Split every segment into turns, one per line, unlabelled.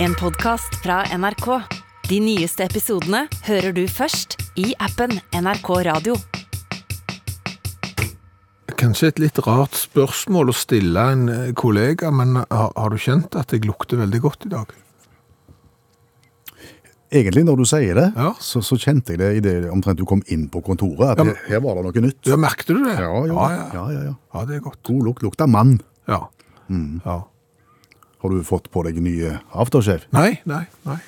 En podcast fra NRK. De nyeste episodene hører du først i appen NRK Radio.
Kanskje et litt rart spørsmål å stille en eh, kollega, men har, har du kjent at jeg lukter veldig godt i dag?
Egentlig, når du sier det,
Ja.
så, så kjente jeg det i det omtrent du kom inn på kontoret, at
Ja, men-
her- her var det noe nytt.
Ja, merkte du det?
ja, jo,
ja,
ja.
ja.
ja, ja,
Ja, det er godt.
God lukt, lukt av mann.
Ja.
Mm.
ja.
Har du fått på deg nye aftershave?
Nei, nei, nei.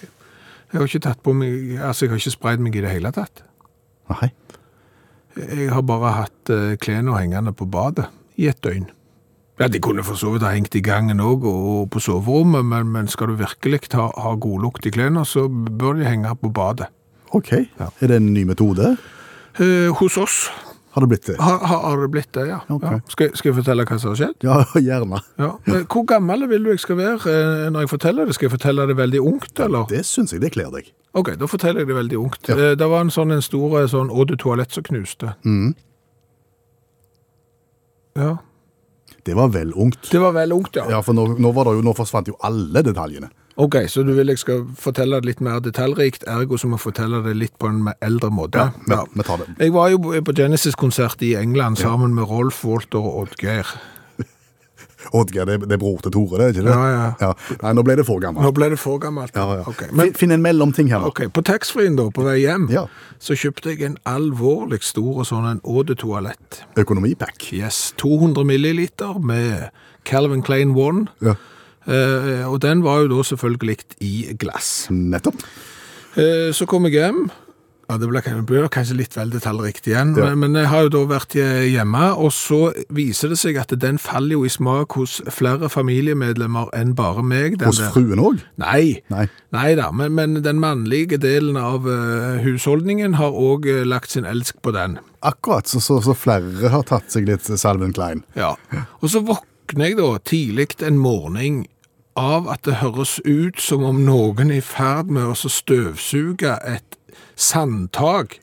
Jeg har ikke tatt på meg, altså jeg har ikke spreid meg i det hele tatt.
Nei.
Jeg har bare hatt eh, klærne hengende på badet i et døgn. Ja, De kunne for så vidt ha hengt i gangen òg og på soverommet, men, men skal du virkelig ha, ha godlukt i klærne, så bør de henge på badet.
Ok.
Ja.
Er det en ny metode?
Eh, hos oss
Har det blitt det?
har, har har det blitt det, ja.
Ok.
ja. Skal, skal jeg fortelle hva som har skjedd?
Ja, gjerne.
Ja. Eh, Hvor gammel vil du jeg skal være eh, når jeg forteller det? Skal jeg fortelle det veldig ungt, eller?
Det synes jeg det kler deg.
Ok, da forteller jeg det veldig ungt.
Ja.
Eh, Det var en sånn en stor eh, sånn Å, du toalett som knuste.
Mm.
Ja.
Det var vel ungt.
Det var vel ungt, ja.
Ja, for nå, nå, var det jo, nå forsvant jo alle detaljene.
Ok, så du vil jeg skal fortelle det litt mer detaljrikt, ergo så må jeg fortelle det litt på en mer eldre måte.
Men, Vi tar det.
Jeg var jo på Genesis-konsert i England sammen med Rolf, Walter og Oddgeir.
Oddgeir, det, det er bror til Tore, det er ikke det?
Ja, ja.
Nei, nå ble det for gammelt.
Nå ble det for gammelt.
Ja, ja.
Ok, men,
Finn- Finn en mellomting her nå.
ok, på taxfree-en da, på vei hjem,
Ja.
så kjøpte jeg en alvorlig stor og sånn en ådetoalett.
Økonomipack.
Yes, 200 milliliter med Calvin Klein One,
Ja.
eh, og den var jo da selvfølgelig i glass.
Nettopp.
Eh, Så kom jeg hjem. Ja, det ble, det ble kanskje litt vel detaljriktig igjen,
Ja.
men, men jeg har jo da vært hjemme, og så viser det seg at den faller jo i smak hos flere familiemedlemmer enn bare meg. den
Hos
der.
fruen òg?
Nei.
Nei.
Neida, men, men den mannlige delen av eh, husholdningen har også lagt sin elsk på den.
Akkurat, så, så, så flere har tatt seg litt Salven Klein.
Ja. Og så våkner jeg da tidlig en morgen av at det høres ut som om noen er i ferd med å så støvsuge et sandtak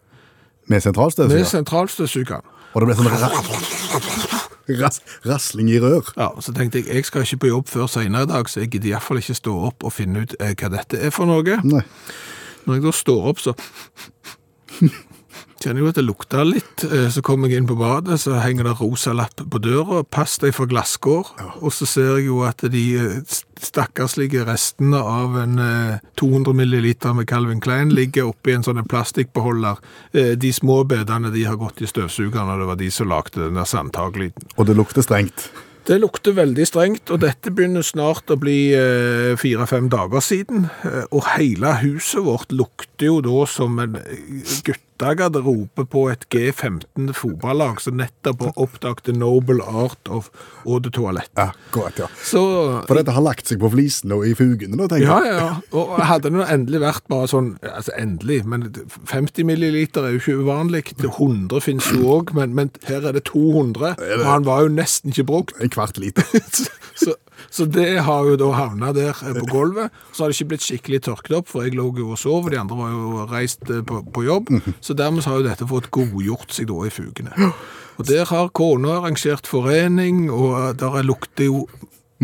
Med
Det
sentralstøvsuger.
er sentralstøvsugeren.
Og det ble sånn ras, ras, rasling i rør.
Ja, så tenkte jeg, jeg skal ikke på jobb før senere i dag, så jeg gidder iallfall ikke stå opp og finne ut eh, hva dette er for noe.
Nei.
Når jeg da står opp, så kjenner jeg jo at det lukter litt. Eh, Så kommer jeg inn på badet, så henger det rosa lapp på døra. Pass deg for glasskår. Og så ser jeg jo at de eh, st- stakkarslige restene av en eh, 200 milliliter med Calvin Klein ligger oppi en sånn en plastikkbeholder. Eh, De små bedene de har gått i stivsugeren, og det var de som lagde den der sandtaklyden.
Og det lukter strengt.
Det lukter veldig strengt, og dette begynner snart å bli eh, fire-fem dager siden. Eh, og hele huset vårt lukter jo da som en eh, guttegarderobe på et G15 fotballag som nettopp har oppdaget the noble art of eau de toalette.
Akkurat, ja.
Så
For dette har lagt seg på flisene og i fugene, da, tenker
ja,
jeg.
ja, ja. Og hadde det nå endelig vært bare sånn, altså endelig, men 50 milliliter er jo ikke uvanlig, 100 finnes jo òg, men, men her er det 200, og han var jo nesten ikke brukt.
En kvart liter.
så, så det har jo da havna der eh, på gulvet. Så har det ikke blitt skikkelig tørket opp, for jeg lå jo og sov, og de andre var jo reist eh, på, på jobb. Så dermed så har jo dette fått godgjort seg da i fugene. Og der har kona arrangert forening, og eh, der er lukter jo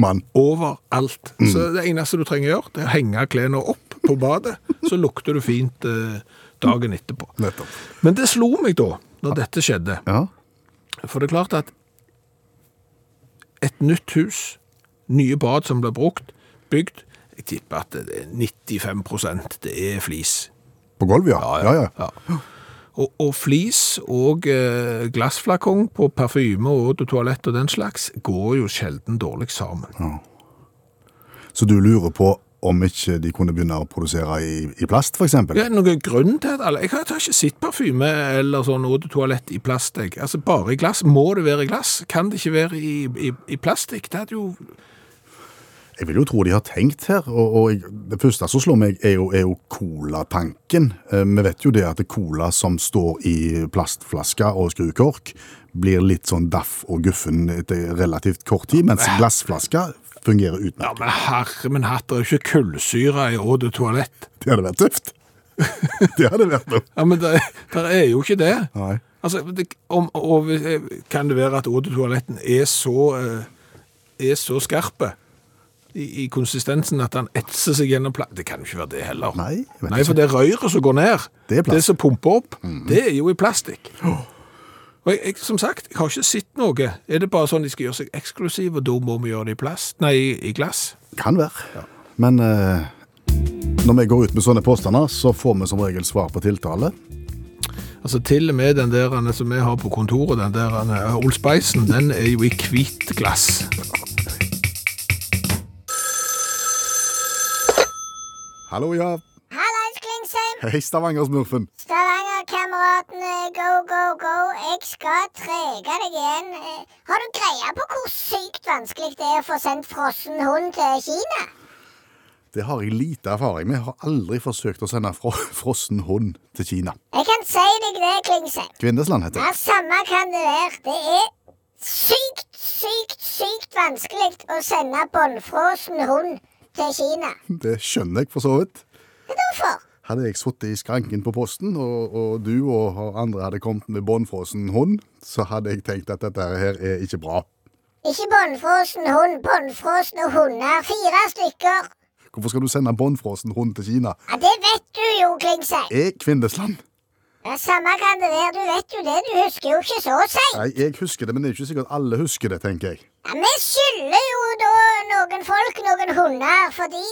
Mann.
overalt. Så det eneste du trenger å gjøre, det er å henge klærne opp på badet, så lukter du fint eh, dagen etterpå.
Nettopp.
Men det slo meg da, når dette skjedde.
Ja.
For det er klart at et nytt hus, nye bad som ble brukt, bygd, jeg tipper at det er 95 det er flis.
På gulvet, ja. Ja, ja.
Og, og flis og eh, glassflakong på parfyme og eau de toalett og den slags går jo sjelden dårlig sammen.
Mm. Så du lurer på om ikke de kunne begynne å produsere i, i plast, for eksempel?
Ja, noen grunn til at alle... Jeg har jeg har ikke sett parfyme eller sånn eau de toalett i plast, jeg. Altså, bare i glass. Må det være i glass? Kan det ikke være i, i, i plastikk? Det hadde jo...
Jeg vil jo tro de har tenkt her, og, og jeg, det første som slår meg er jo, er jo colatanken. Eh, Vi vet jo det at cola som står i plastflasker og skrukork, blir litt sånn daff og guffen etter relativt kort tid, mens glassflasker fungerer
Ja,
utmerket.
men herre min hatt, det er jo ikke kullsyre i åd og toalett.
Det hadde vært tøft. Det hadde vært noe.
Ja, men det, der er jo ikke det.
Nei.
Altså, det, om, og, eh, hvis- kan det være at åd og toaletten er så, eh, er så skarpe i, i konsistensen at han etser seg gjennom plast. Det kan jo ikke være det heller.
Nei, jeg vet
Nei for det røret som går ned,
Det er plast. Mm-hmm.
som pumper opp, det er jo i plastikk. Og jeg, jeg, som sagt, jeg har ikke sett noe. Er det bare sånn de skal gjøre seg eksklusive, og da må vi gjøre det i plast? Nei, i, i glass.
Kan være. Men eh, når vi går ut med sånne påstander, så får vi som regel svar på tiltale.
Altså til og med den der ene som vi har på kontoret, den der ene, Old Spicen, den er jo i hvitt glass.
Hallo, ja.
Hallais, Klingsheim.
Hei, Stavanger-smurfen.
Stavangerkameratene, go, go, go. Jeg skal trege deg igjen. Eh, Har du greie på hvor sykt vanskelig det er å få sendt frossen hund til Kina?
Det har jeg lite erfaring med. Jeg har aldri forsøkt å sende fro frossen hund til Kina.
Jeg kan si deg det, Klingsheim.
Kvinnesland heter det.
Ja, samme kan det være. Det er sykt, sykt, sykt vanskelig å sende båndfrossen hund til Kina.
Det skjønner jeg for så vidt.
Hvorfor?
Hadde jeg sittet i skranken på posten, og, og du og og andre hadde kommet med båndfrossen hund, så hadde jeg tenkt at dette her er ikke bra.
Ikke båndfrossen hund, båndfrosne hunder. Fire stykker.
Hvorfor skal du sende båndfrossen hund til Kina?
Ja, Det vet du jo, Klingsheim.
Er Kvindesland?
Ja, Samme kan det være. Du vet jo det. Du husker jo ikke så å si.
Nei, jeg husker det, men det er ikke sikkert alle husker det, tenker jeg.
Ja, vi skylder jo da noen folk noen hunder, fordi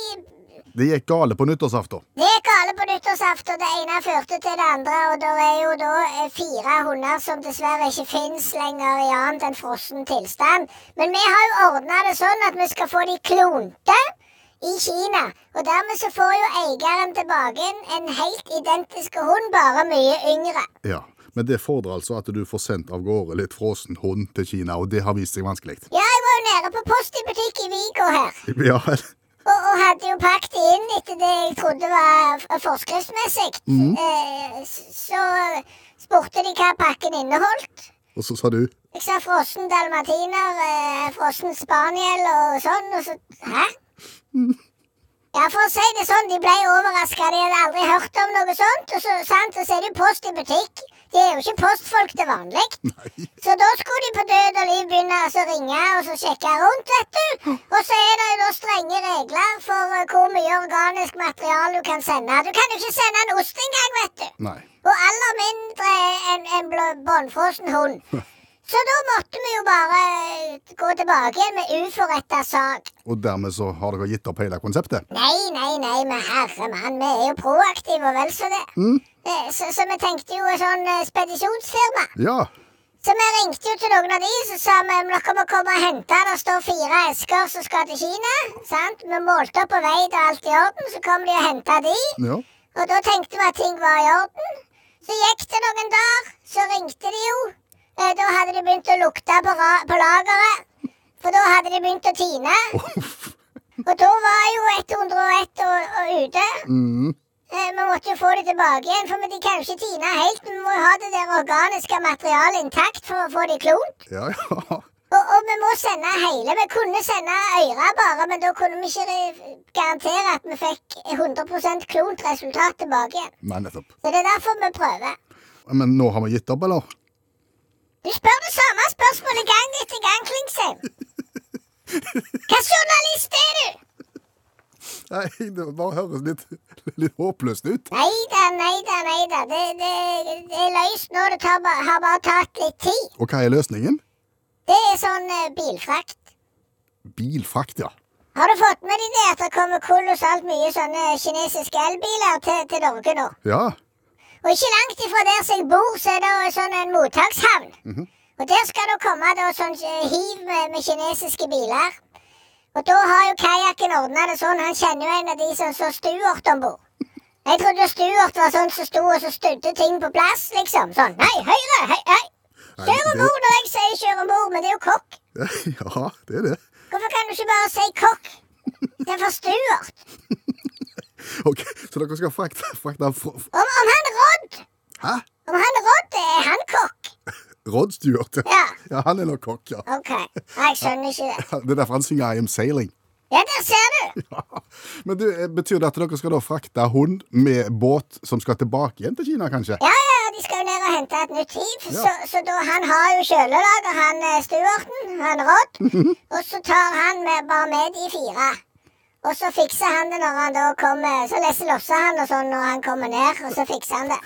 Det gikk gale på nyttårsaften.
det er gale på nyttårsaften. Det ene førte til det andre, og det er jo da eh, fire hunder som dessverre ikke fins lenger i annet enn frossen tilstand. Men vi har jo ordna det sånn at vi skal få de klonte i Kina. Og dermed så får jo eieren tilbake en- en helt identisk hund, bare mye yngre.
Ja, men det fordrer altså at du får sendt av gårde litt frossen hund til Kina, og det har vist seg vanskelig.
Ja, jeg var jo nede på Post i butikk i Vigo her.
Ja,
Og, og hadde jo pakket det inn etter det jeg trodde var f- forskriftsmessig. Eh, s- så spurte de hva pakken inneholdt.
og så sa du
Jeg sa frossen dalmatiner, eh, frossen spaniel og sånn. Og så Hæ? Ja, for å si det sånn, de ble overraska. De hadde aldri hørt om noe sånt. Og så, sant, og så er det jo post i butikk. De er jo ikke postfolk til vanlig. Så da skulle de på død og liv begynne å så ringe og så sjekke rundt, vet du. Og så er det jo da strenge regler for eh, hvor mye organisk materiale du kan sende. Du kan jo ikke sende en ost engang, vet du.
Nei.
Og aller mindre en, en blå- båndfrossen hund. Så da måtte vi jo bare eh, gå tilbake igjen med uforretta sak.
Og dermed så har dere gitt opp hele konseptet?
Nei, nei, nei, men herre mann, vi er jo proaktive og vel så det. Eh, Så, så vi tenkte jo et sånn eh, spedisjonsfirma.
Ja.
Så vi ringte jo til noen av de, så sa vi om dere må komme og hente. Det står fire esker som skal til Kina. sant? Vi målte opp på vei, det var alt i orden. Så kom de og henta de.
ja.
Og da tenkte vi at ting var i orden. Så gikk det noen dager, så ringte de jo. Eh, Da hadde de begynt å lukte på, ra på lageret. For da hadde de begynt å tine. Og da var jo 101 og, og ute.
Mm.
Eh, Vi måtte jo få det tilbake igjen, for men de kan jo ikke tine helt. Vi må jo ha det der organiske materialet intakt for å få det klont.
Ja, ja.
Og, og vi må sende hele. Vi kunne sende øyre bare, men da kunne vi ikke eh, garantere at vi fikk 100 klont resultat tilbake igjen.
Nei, nettopp.
Så det er derfor vi prøver.
Men nå har vi gitt opp, eller?
Du spør det samme spørsmålet gang etter gang, Klingsheim. Hva journalist er du?
Nei, det bare høres litt, litt håpløst ut.
Nei da, nei da, nei da. Det, det, det er løst nå. Det tar, ba- har bare tatt litt tid.
Og hva er løsningen?
Det er sånn eh, bilfrakt.
Bilfrakt, ja.
Har du fått med deg det at det kommer kolossalt mye sånne kinesiske elbiler til, til Norge nå?
Ja.
Og ikke langt ifra der som jeg bor, så er det sånn en mottakshavn.
Mhm.
Og der skal det komme da sånn eh, hiv med, med kinesiske biler. Og da har jo kajakken ordna det sånn. Han kjenner jo en av de som så Stuart om bord. Jeg trodde Stuart var sånn som sto og så studde ting på plass, liksom. Sånn. Hei, høyre, hei, hei.
Nei,
Kjør om
det-
bord når jeg sier kjør om bord, men det er jo kokk.
Ja, det er det.
Hvorfor kan du ikke bare si kokk? Det er for Stuart.
Ok, Så dere skal frakte, frakte fr-
Om, om han Rodd
Hæ?
Om han Rodd er han kokk?
Rod Stewart?
Ja.
ja. Han er nok kokk, ja.
OK. Nei, jeg skjønner ikke det.
Det er derfor han synger I am sailing.
Ja, der ser du.
Men du, eh, Betyr det at dere skal da frakte hund med båt som skal tilbake igjen til Kina, kanskje?
Ja, ja, ja, de skal jo ned og hente et nytt hiv.
Ja.
Så, så da, han har jo
Mhm.
kjølelager, han eh, Stuarten, han Rodd. Og så tar han med, bare med de fire. Og så fikser han det når han da kommer. Så lesser losser han og sånn når han kommer ned, og så fikser han det.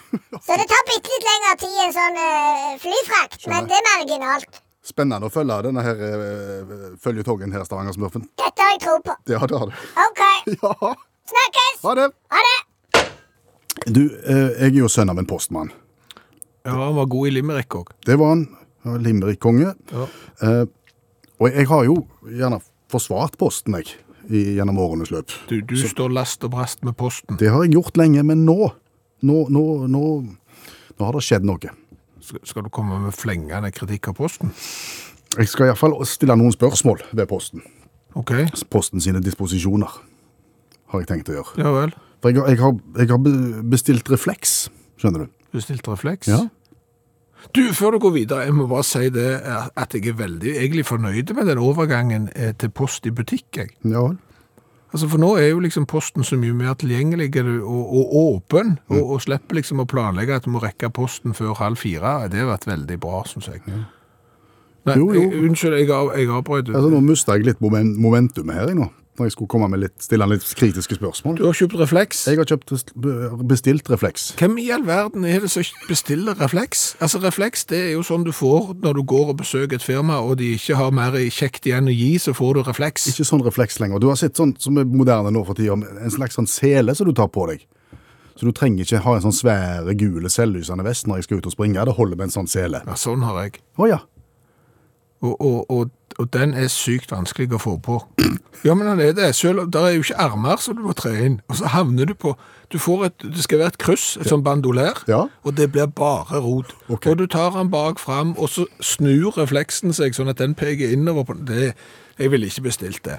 Så det tar bitte litt lengre tid enn sånn eh, flyfrakt, men det er marginalt.
Spennende å følge denne her eh, føljetongen her, Stavanger-smurfen.
Dette har jeg tro på.
Ja, det har du.
OK.
Ja,
Snakkes!
ha det!
Ha det!
Du, eh, jeg er jo sønn av en postmann.
Ja, han var god i Limerick òg.
Det var han. Han var Limerick-konge.
Ja.
Eh, og jeg har jo gjerne forsvart posten, jeg, i, gjennom årenes løp.
Du, du står last og brast med posten.
Det har jeg gjort lenge, men nå Nå, nå, nå, nå har det skjedd noe.
Skal skal du komme med flengende kritikk av posten?
Jeg skal iallfall stille noen spørsmål ved Posten.
OK.
Posten sine disposisjoner, har jeg tenkt å gjøre.
Ja vel.
For jeg har, jeg har, jeg har be- bestilt refleks, skjønner du.
Bestilt refleks?
Ja.
Du, før du går videre, jeg må bare si det eh, at jeg er veldig egentlig fornøyd med den overgangen eh, til post i butikk, jeg.
Ja vel.
Altså, for nå er jo liksom posten så mye mer tilgjengelig og, og åpen,
Mm.
og, og slipper liksom å planlegge at du må rekke posten før halv fire. Det har vært veldig bra, synes jeg. Nei,
Jo, jo.
Jeg, unnskyld, jeg, av- jeg avbrøt.
Altså, nå mista jeg litt momen, momentumet her, jeg nå. Når jeg skulle komme med litt, stille litt kritiske spørsmål.
Du har kjøpt refleks.
Jeg har kjøpt, bestilt refleks.
Hvem i all verden er det som ikke bestiller refleks? Altså, refleks det er jo sånn du får når du går og besøker et firma, og de ikke har mer kjekt igjen å gi, så får du refleks.
Ikke sånn refleks lenger. Du har sett sånn som er moderne nå for tida, en slags sånn sele som du tar på deg. Så du trenger ikke ha en sånn svære, gule, selvlysende vest når jeg skal ut og springe. Det holder med en sånn sele.
Ja, sånn har jeg.
Å ja.
Og, og, og, og den er sykt vanskelig å få på. Ja, men den er det. Selv, der er jo ikke armer som du må tre inn. Og så havner du på Du får et Det skal være et kryss, et sånn bandolær,
Ja.
og det blir bare rot.
Ok.
Og du tar den bak fram, og så snur refleksen seg sånn at den peker innover på det, Jeg ville ikke bestilt det.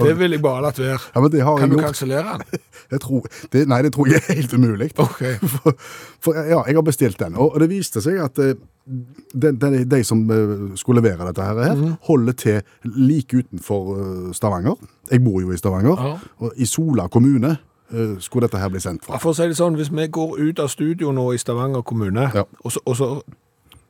Det ville jeg bare latt være.
Ja, men det har
Kan
jeg
du
gjort.
kansellere den?
Jeg tror, det, nei, det tror jeg er helt umulig.
OK.
For, for ja, jeg har bestilt den, og og det viste seg at eh, de, de, de som eh, skulle levere dette her,
Mhm.
her holder til like utenfor eh, Stavanger. Jeg bor jo i Stavanger,
Ja.
og i Sola kommune eh, skulle dette her bli sendt fra.
For å si det sånn, hvis vi går ut av studio nå i Stavanger kommune,
Ja.
og, så, og så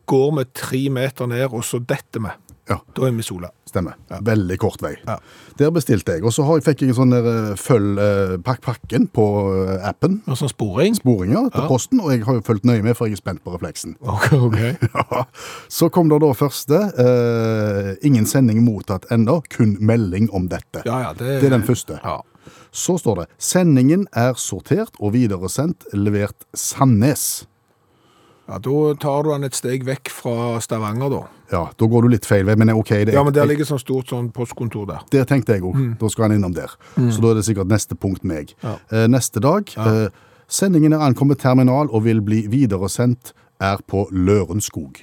går vi tre meter ned, og så detter vi,
Ja.
da er vi sola.
Stemmer. Veldig kort vei.
Ja.
Der bestilte jeg, og så har, fikk jeg en sånn der, eh, følg eh, pakk pakken på eh, appen.
Og sånn sporing?
Boringer til
Ja.
posten, og jeg har jo fulgt nøye med, for jeg er spent på refleksen.
Ok, ok.
Så kom det da første. Eh, ingen sending mottatt ennå, kun melding om dette.
Ja, ja, det,
Det er den første.
Ja.
Så står det sendingen er sortert og videresendt, levert Sandnes.
ja, da tar du den et steg vekk fra Stavanger da.
Ja, da går du litt feil vei, men ok, det er
Ja, men der ligger sånn stort sånn postkontor der.
Der tenkte jeg òg. Da skal han innom der. Så da er det sikkert neste punkt meg.
Mm. Ja.
Eh, neste dag eh, Sendingen er ankommet terminal og vil bli videresendt. Er på Lørenskog.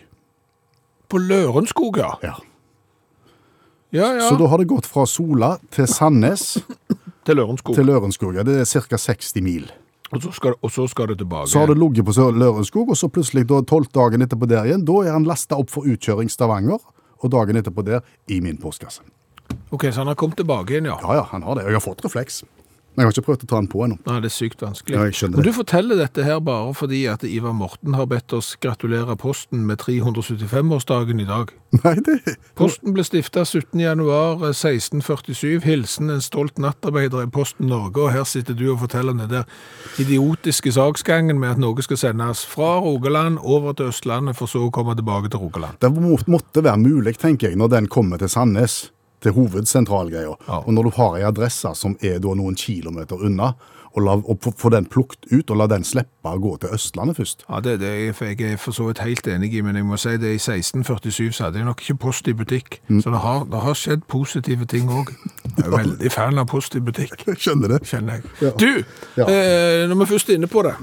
På Lørenskog, ja.
Ja.
Ja, ja,
Så da har det gått fra Sola til Sandnes
til Lørenskog.
til Lørenskog. Ja, det er ca. 60 mil.
Og, så skal, og så skal det tilbake.
Så har det ligget på Sør- Lørenskog, og så plutselig da tolv dagen etterpå der igjen, da er han lasta opp for utkjøring Stavanger, og dagen etterpå der i min postkasse.
Ok, så han har kommet tilbake igjen, ja.
Ja, ja, han har det. Jeg har fått refleks. Men jeg har ikke prøvd å ta den på ennå.
Nei, det er sykt vanskelig.
Ja, jeg skjønner
Men
det.
du forteller dette her bare fordi at Ivar Morten har bedt oss gratulere posten med 375-årsdagen i dag.
Nei, det
Posten ble stiftet 17. januar 1647. Hilsen en stolt nattarbeider i Posten Norge, og her sitter du og forteller om den der idiotiske saksgangen med at noe skal sendes fra Rogaland over til Østlandet, for så å komme tilbake til Rogaland.
Det må, måtte være mulig, tenker jeg, når den kommer til Sandnes, til hovedsentralgreia.
Ja.
Og når du har ei adresse som er da noen kilometer unna, og, la, og få- få den plukt ut, og la den slippe å gå til Østlandet først.
Ja, det, det er jeg- for jeg er for så vidt helt enig i, men jeg må si det i 1647 så hadde jeg nok ikke post i butikk. Så det har, det har skjedd positive ting òg. Jeg er veldig fan av post i butikk.
Jeg skjønner det.
kjenner jeg.
Ja.
Du,
Ja. Mm.
eh, når vi først er inne på det,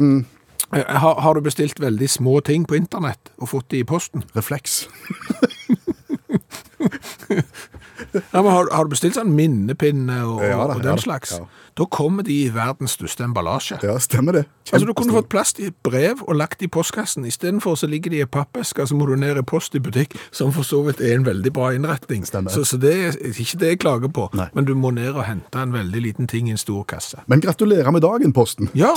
eh, har, har du bestilt veldig små ting på internett og fått de i posten?
Refleks.
Ja, men har, har du bestilt sånn minnepinne og,
Ja da,
og
ja da,
den slags?
ja.
Da kommer de i verdens største emballasje.
Ja, stemmer det.
Altså, Du kunne
Kjempestor.
fått plast i et brev og lagt i postkassen. Istedenfor så ligger de i pappesker, så må du ned i post i butikk, som for så vidt er en veldig bra innretning.
Stemmer.
Så, så det er ikke det jeg klager på,
Nei.
men du må ned og hente en veldig liten ting i en stor kasse.
Men gratulerer med dagen, Posten.
Ja!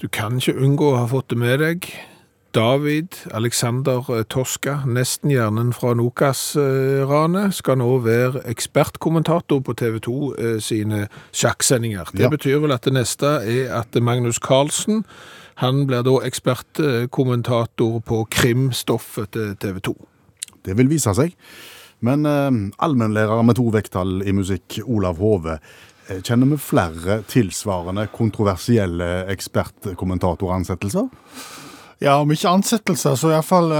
Du kan ikke unngå å ha fått det med deg David Alexander Toska, nesten hjernen fra Nokas-ranet, skal nå være ekspertkommentator på TV 2 sine sjakksendinger. Det
Ja.
betyr vel at det neste er at Magnus Carlsen han blir da ekspertkommentator på krimstoffet til TV 2.
Det vil vise seg. Men eh, allmennlærer med to vekttall i musikk, Olav Hove, eh, kjenner vi flere tilsvarende kontroversielle ekspertkommentatoransettelser?
Ja, om ikke ansettelser, så iallfall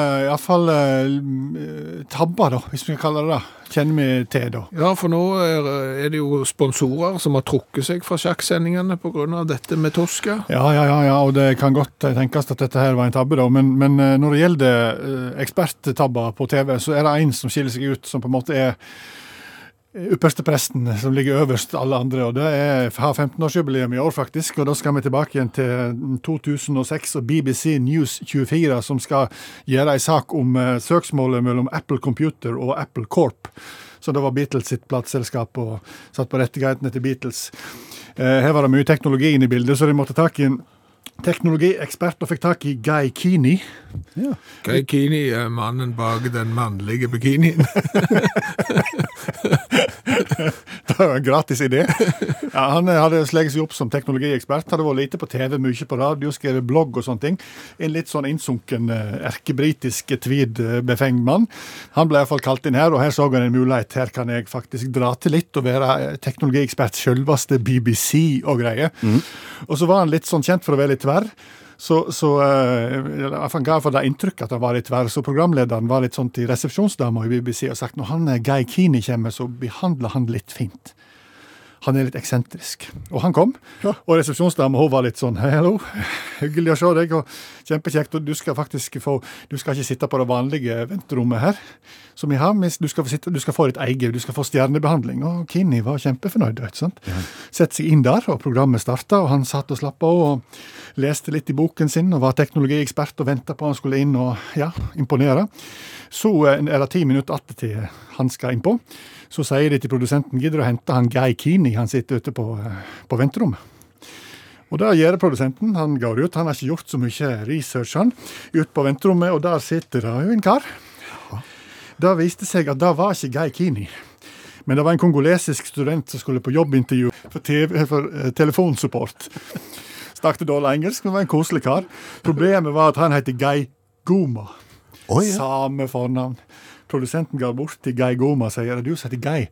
fall eh, tabber, da, hvis vi kan kalle det det. Kjenner vi til, da.
Ja, for nå er er det jo sponsorer som har trukket seg fra sjakksendingene pga. dette med Toska.
Ja, ja, ja, ja, og det kan godt eh, tenkes at dette her var en tabbe, da. Men, men eh, når det gjelder eh, eksperttabber på TV, så er det en som skiller seg ut, som på en måte er ypperste presten eh, som ligger øverst alle andre. Og det er, har 15-årsjubileum i år, faktisk. Og da skal vi tilbake igjen til 2006 og BBC News 24, som skal gjøre ei sak om eh, søksmålet mellom Apple Computer og Apple Corp. Så det var Beatles sitt plateselskap og satt på rettighetene til Beatles. Eh, Her var det mye teknologi inne i bildet, så de måtte tak i en teknologiekspert og fikk tak i Guy Keeney.
Kaikini er mannen bak den mannlige bikinien.
Det var en gratis idé. Ja, han eh, hadde sleget seg opp som teknologiekspert. Hadde vært lite på TV, mye på radio, skrevet blogg og sånne ting. En litt sånn innsunken eh, erkebritisk tweed-befengd mann. Han ble iallfall kalt inn her, og her så han en mulighet. Her kan jeg faktisk dra til litt og være eh, teknologiekspert selveste BBC og greier. Og så var han litt sånn kjent for å være litt tverr. Så, så uh, Han ga iallfall det inntrykket at han var litt verre. Så programlederen var litt sånn til resepsjonsdama i BBC og sagt når han eh, Guy Kini kommer, så behandler han litt fint. Han er litt eksentrisk. Og han kom. Og resepsjonsdama hun var litt sånn «Hei, Hallo, hyggelig å se deg, og kjempekjekt. Og du skal faktisk få Du skal ikke sitte på det vanlige venterommet her, som vi har. men Du skal, få sitte, du skal få ditt eget, du skal få stjernebehandling. Og Kini var kjempefornøyd. vet du sant? Sette seg inn der, og programmet starta, og han satt og slappa av og leste litt i boken sin og var teknologiekspert og venta på han skulle inn og ja, imponere. Så eh, er det ti minutter att til han skal innpå. Så sier de til produsenten gidder du å hente han Guy Keeney, han sitter ute på, eh, på venterommet. Og det gjør produsenten. Han går ut, han har ikke gjort så mye research, han. Ut på venterommet, og der sitter det jo en kar. Det viste seg at det var ikke Guy Keeney. Men det var en kongolesisk student som skulle på jobbintervju for, TV, for eh, telefonsupport. Snakket dårlig engelsk, men var en koselig kar. Problemet var at han heter Guy Goma.
Oi, ja.
Samme fornavn. Produsenten går bort til Guy Goma og sier er det du som heter Guy.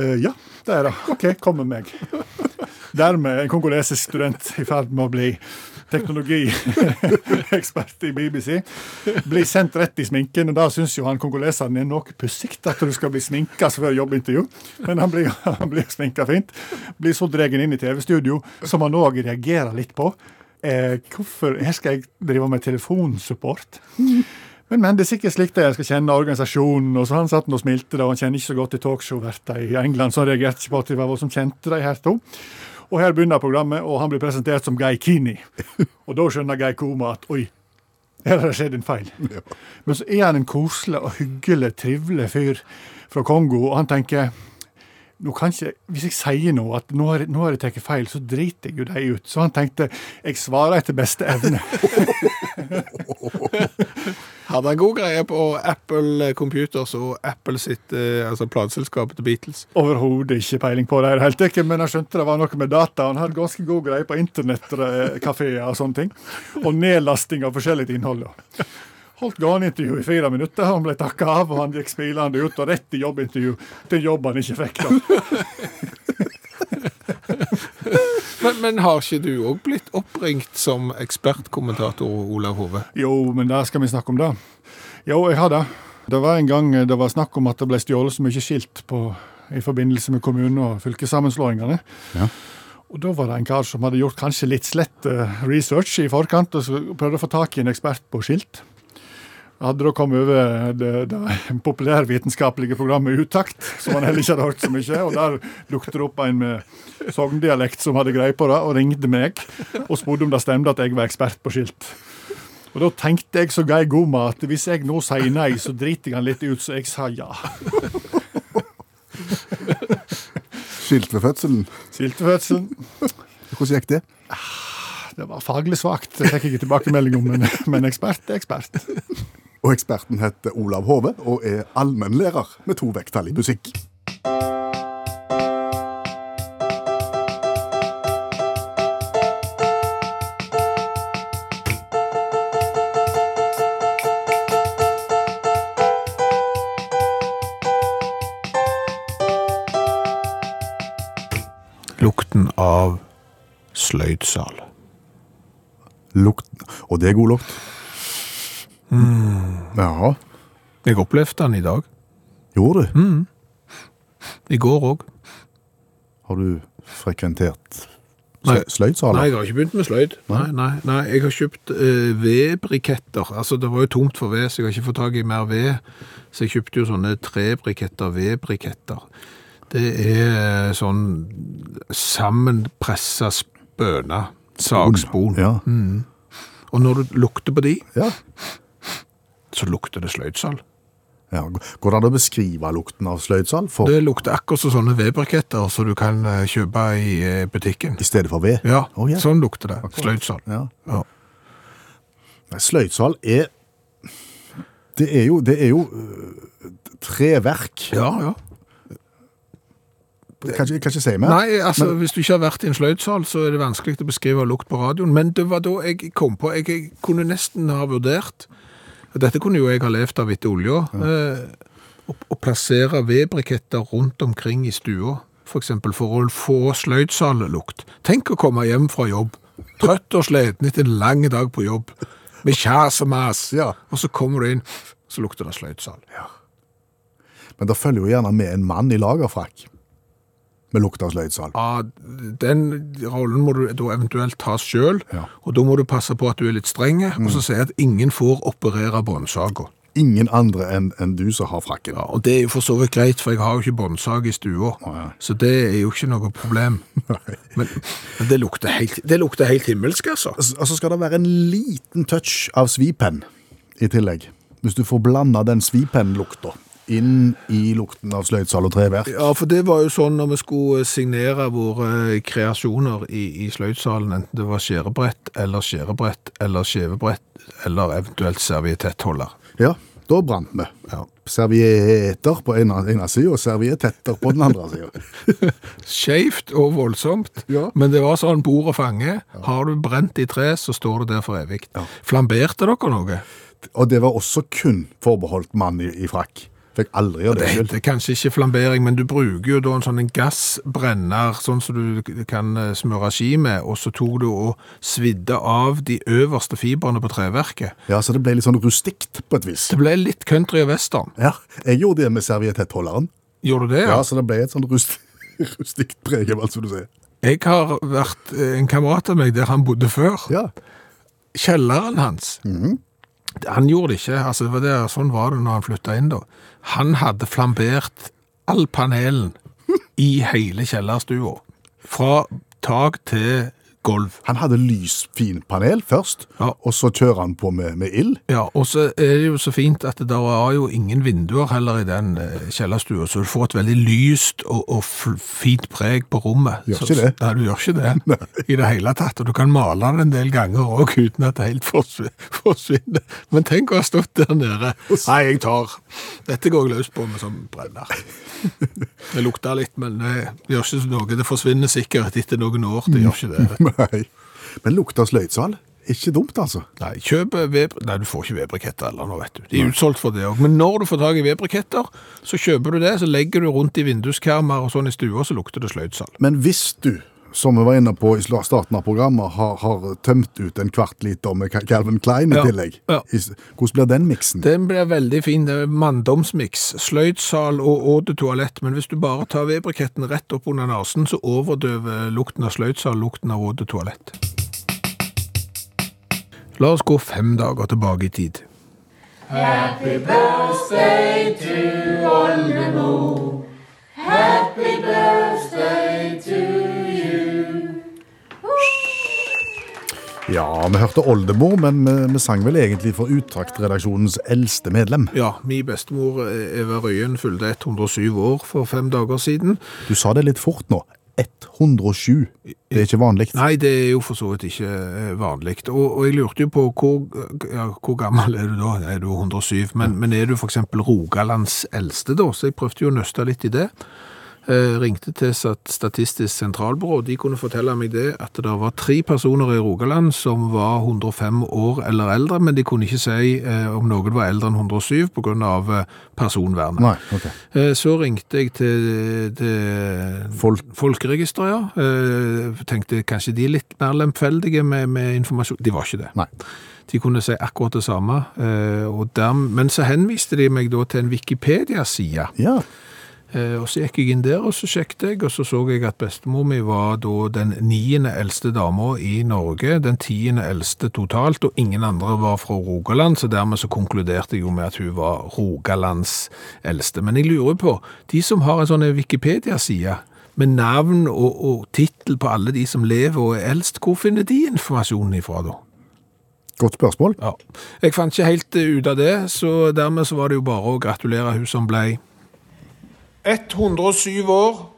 «Eh, ja, det er det. OK, kom med meg. Dermed en kongolesisk student i ferd med å bli teknologiekspert i BBC. Blir sendt rett i sminken, og da syns jo han kongoleseren er noe pussig at du skal bli sminka før jobbintervju, men han blir, han blir sminka fint. Blir så dratt inn i TV-studio, som han òg reagerer litt på. Eh, hvorfor her skal jeg drive med telefonsupport? Men, men det er sikkert slik det er. Jeg skal kjenne organisasjonen. Og så han satt nå og smilte, da, og han kjenner ikke så godt til talkshow-verta i England, så han reagerte ikke på at det var hun som kjente de her to. Og her begynner programmet, og han blir presentert som Guy Kini. Og da skjønner Guy Koma at oi, her har det skjedd en feil. Men så er han en koselig og hyggelig, trivelig fyr fra Kongo, og han tenker nå kan ikke, Hvis jeg sier nå at nå har, jeg- nå har jeg tatt feil, så driter jeg jo de ut. Så han tenkte jeg svarer etter beste evne.
Hadde han god greie på Apple Computers og Apple sitt, eh, altså plateselskapet til Beatles?
Overhodet ikke peiling på det, i det hele tatt, men jeg skjønte det var noe med data. Han hadde ganske god greie på internettkafeer og sånne ting. Og nedlasting av forskjellig innhold. da. Holdt gående intervju i fire minutter, han ble takka av, og han gikk smilende ut og rett i jobbintervju. Til jobb han ikke fikk, da.
Men, men har ikke du òg blitt oppringt som ekspertkommentator, Olav Hove?
Jo, men det skal vi snakke om, da. Jo, jeg har det. Det var en gang eh, det var snakk om at det ble stjålet så mye skilt på, i forbindelse med kommune- og fylkessammenslåingene.
Ja.
Og Da var det en kar som hadde gjort kanskje litt slett eh, research i forkant, og så prøvde å få tak i en ekspert på skilt. Hadde da kommet over eh, det, det populærvitenskapelige programmet Utakt, som han heller ikke hadde hørt så mye, og der dukket det opp en med sogndialekt som hadde greie på det, og ringte meg og spurte om det stemte at jeg var ekspert på skilt. Og da tenkte jeg så Guy Goma at hvis jeg nå sier nei, så driter jeg han litt ut, så jeg sa ja.
Skilt ved fødselen.
Siltefødselen.
Hvordan gikk det?
Det var faglig svakt, fikk jeg tilbakemelding om, men, men ekspert er ekspert.
Og eksperten heter Olav Hove og er allmennlærer med to vekttall i musikk.
Lukten av sløydsal.
Lukten Og det er god lukt.
Hmm.
Ja,
Jeg opplevde den i dag.
gjorde
Hmm.
du?
I går òg.
Har du frekventert
Nei.
slø- sløydsaler?
Nei, jeg har ikke begynt med sløyd. Nei, nei, nei Jeg har kjøpt eh, vedbriketter. Altså, det var jo tomt for ved, så jeg har ikke fått tak i mer ved. Så jeg kjøpte jo sånne trebriketter, vedbriketter. Det er eh, sånn sammenpressa spøna. Sagspon.
Ja.
Og når du lukter på de,
ja.
så lukter det sløydsal.
ja. Går det an å beskrive lukten av sløydsal for,
Det lukter akkurat som sånne vedbriketter som du kan eh, kjøpe i eh, butikken.
i stedet for ved?
Ja,
Å, ja.
sånn lukter det. Sløydsal.
Ja.
Ja.
Nei, Sløydsal er Det er jo, det er jo øh, treverk.
ja, ja.
Kan ikke, kan ikke si mer.
Nei, altså, hvis du ikke har vært i en sløydsal, så er det vanskelig å beskrive lukt på radioen. Men det var da jeg kom på Jeg, jeg kunne nesten ha vurdert og Dette kunne jo jeg ha levd av etter olja. Eh, å, å plassere vedbriketter rundt omkring i stua, f.eks. For, for å få sløydsallukt. Tenk å komme hjem fra jobb, trøtt og sliten etter en lang dag på jobb, med kjas og mas,
Ja.
og så kommer du inn, så lukter det sløydsal.
Men det følger jo gjerne med en mann i lagerfrakk med lukt av sløydsal.
Ja, Ah, den rollen må du da eventuelt ta sjøl,
Ja.
og da må du passe på at du er litt streng, og så si at ingen får operere båndsaga.
Ingen andre enn enn du som har frakken.
Ja, og det er jo for så vidt greit, for jeg har jo ikke båndsag i stua,
ja.
så det er jo ikke noe problem. men men det, lukter helt, det lukter helt himmelsk, altså.
S- Og så skal det være en liten touch av svipenn i tillegg. Hvis du får blanda den svipennlukta inn i lukten av sløydsal og treverk.
Ja, for det var jo sånn når vi skulle signere våre eh, kreasjoner i, i sløydsalen, enten det var skjærebrett eller skjærebrett eller skjevebrett eller eventuelt servietettholder.
Ja, da brant vi.
Ja.
Servietter på ene, ene sida og servietetter på den andre sida.
Skeivt og voldsomt,
Ja.
men det var sånn bord og fange. Har du brent i tre, så står det der for evig. Flamberte dere noe?
Og det var også kun forbeholdt mann i, i frakk. Fikk aldri gjøre
Det
det selv.
heter kanskje ikke flambering, men du bruker jo da en sånn en gassbrenner, sånn som du kan eh, smøre ski med, og så tok du og svidde av de øverste fibrene på treverket.
Ja, Så det ble litt sånn rustikt på et vis.
Det ble litt country og western.
Ja, Jeg gjorde det med servietettholderen.
Gjorde du det?
Ja, så det ble et sånn rust, rustikt preg over alt, som du sier.
Jeg har vært eh, en kamerat av meg der han bodde før.
Ja.
kjelleren hans Han gjorde det ikke. altså det var det, Sånn var det når han flytta inn. da. Han hadde flambert all panelen i hele kjellerstua. Fra tak til gulv.
Han hadde lysfinpanel først,
Ja.
og så kjører han på med, med ild.
Ja, Og så er det jo så fint at det der var jo ingen vinduer heller i den eh, kjellerstua, så du får et veldig lyst og, og fl- fint preg på rommet.
Gjør
så,
ikke det.
Nei, du gjør ikke det i det hele tatt. Og du kan male den en del ganger òg uten at det helt forsvi- forsvinner. Men tenk å ha stått der nede. Nei, jeg tar Dette går jeg løs på med som brenner. Det lukter litt, men det gjør ikke noe. Det forsvinner sikkert etter noen år. Det gjør ikke det.
Nei. Men lukta sløydsal? Ikke dumt, altså.
Nei, kjøp ved... Nei, du får ikke vedbriketter eller noe, vet du. De er utsolgt for det òg. Men når du får tak i vedbriketter, så kjøper du det, så legger du rundt i vinduskarmer og sånn i stua, så lukter det sløydsal.
Men hvis du, som vi var inne på i sla- starten av programmet, har, har tømt ut en kvart liter med Ka- Calvin Klein i
Ja,
tillegg,
ja.
i s- hvordan blir den miksen?
Den blir veldig fin. Det er manndomsmiks. Sløydsal og åte toalett. Men hvis du bare tar vedbriketten rett opp under nesen, så overdøver lukten av sløydsal lukten av åte toalett. La oss gå fem dager tilbake i tid.
Ja, vi hørte oldemor, men vi, vi sang vel egentlig for Utraktredaksjonens eldste medlem.
Ja, min bestemor eh, Eva Røyen fylte 107 år for fem dager siden.
Du sa det litt fort nå. 107. Det er ikke vanlig.
Nei, det er jo for så vidt ikke vanlig. Og, og jeg lurte jo på hvor, ja, hvor gammel er du da? Er du 107? Men, men er du f.eks. Rogalands eldste, da? Så jeg prøvde jo å nøste litt i det. Eh, ringte til sat- Statistisk sentralbyrå, og de kunne fortelle meg det at det var tre personer i Rogaland som var 105 år eller eldre, men de kunne ikke si eh, om noen var eldre enn 107 pga. øh, personvernet.
Nei, ok.
Eh, Så ringte jeg til, til
Folk-
Folkeregisteret, ja. Eh, Tenkte kanskje de er litt mer lemfeldige med, med informasjon. De var ikke det.
Nei.
De kunne si akkurat det samme. eh, Og derm- men så henviste de meg da til en Wikipedia-side.
Ja,
Eh, Og så gikk jeg inn der, og så sjekket jeg, og så så jeg at bestemor mi var da den niende eldste dama i Norge, den tiende eldste totalt, og ingen andre var fra Rogaland, så dermed så konkluderte jeg jo med at hun var Rogalands eldste. Men jeg lurer på, de som har en sånn Wikipedia-side, med navn og, og titel på alle de som lever og er eldst, hvor finner de informasjonen ifra da?
godt spørsmål.
Ja. Jeg fant ikke helt eh, ut av det, så dermed så var det jo bare å gratulere hun som ble 107 år.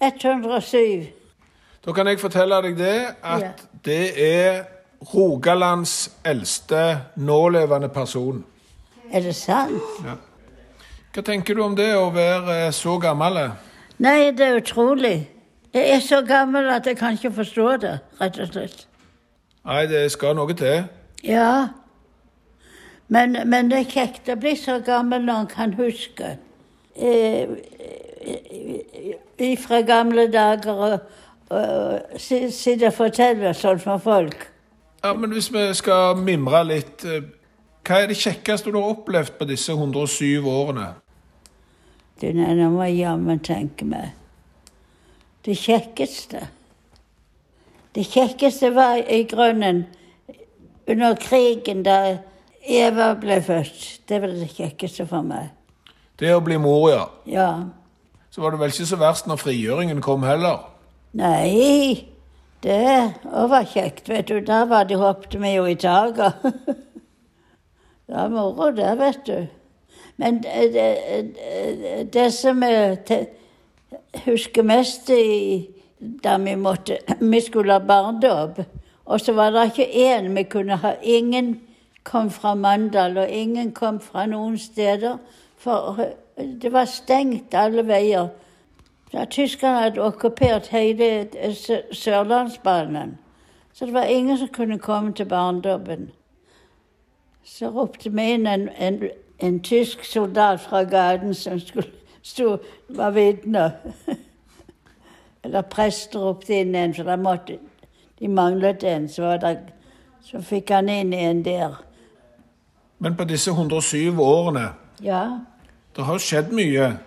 107.
Da kan jeg fortelle deg det, at det er Rogalands eldste nålevende person.
Er det sant?
Hva tenker du om det å være eh, så gammel?
Nei, det er utrolig. Jeg er så gammel at jeg kan ikke forstå det, rett og slett.
Nei, det skal noe til.
Ja. Men, men det er kjekt å bli så gammel når en kan huske. Eh, eh, fra gamle dager og, og si- sitte og fortelle sånn for folk.
Ja, men hvis vi skal mimre litt, eh, hva er det kjekkeste du har opplevd på disse 107 årene?
Du, nei, nå må jeg jammen tenke meg. Det kjekkeste Det kjekkeste var i grunnen under krigen, da Eva ble født. Det var det kjekkeste for meg.
Det å bli mor, ja.
Ja.
Så var det vel ikke så verst når frigjøringen kom heller.
Nei, det også var kjekt, vet du. Der var de hoppet vi jo i taket. det var moro, det, vet du. Men eh, det, det, det som jeg te- husker mest i, da vi måtte Vi skulle ha barnedåp, og så var det ikke én vi kunne ha. Ingen kom fra Mandal, og ingen kom fra noen steder. For eh, det var stengt alle veier. Da tyskerne hadde okkupert hele eh, Sø- Sørlandsbanen. Så det var ingen som kunne komme til barndommen. Så ropte vi inn en, en, en tysk soldat fra gaten som skulle, sto, var vitne. Eller prest ropte inn en, for da måtte, de manglet en. Så, var det- så fikk han inn en der.
Men på disse 107 årene,
Ja,
det har skjedd mye.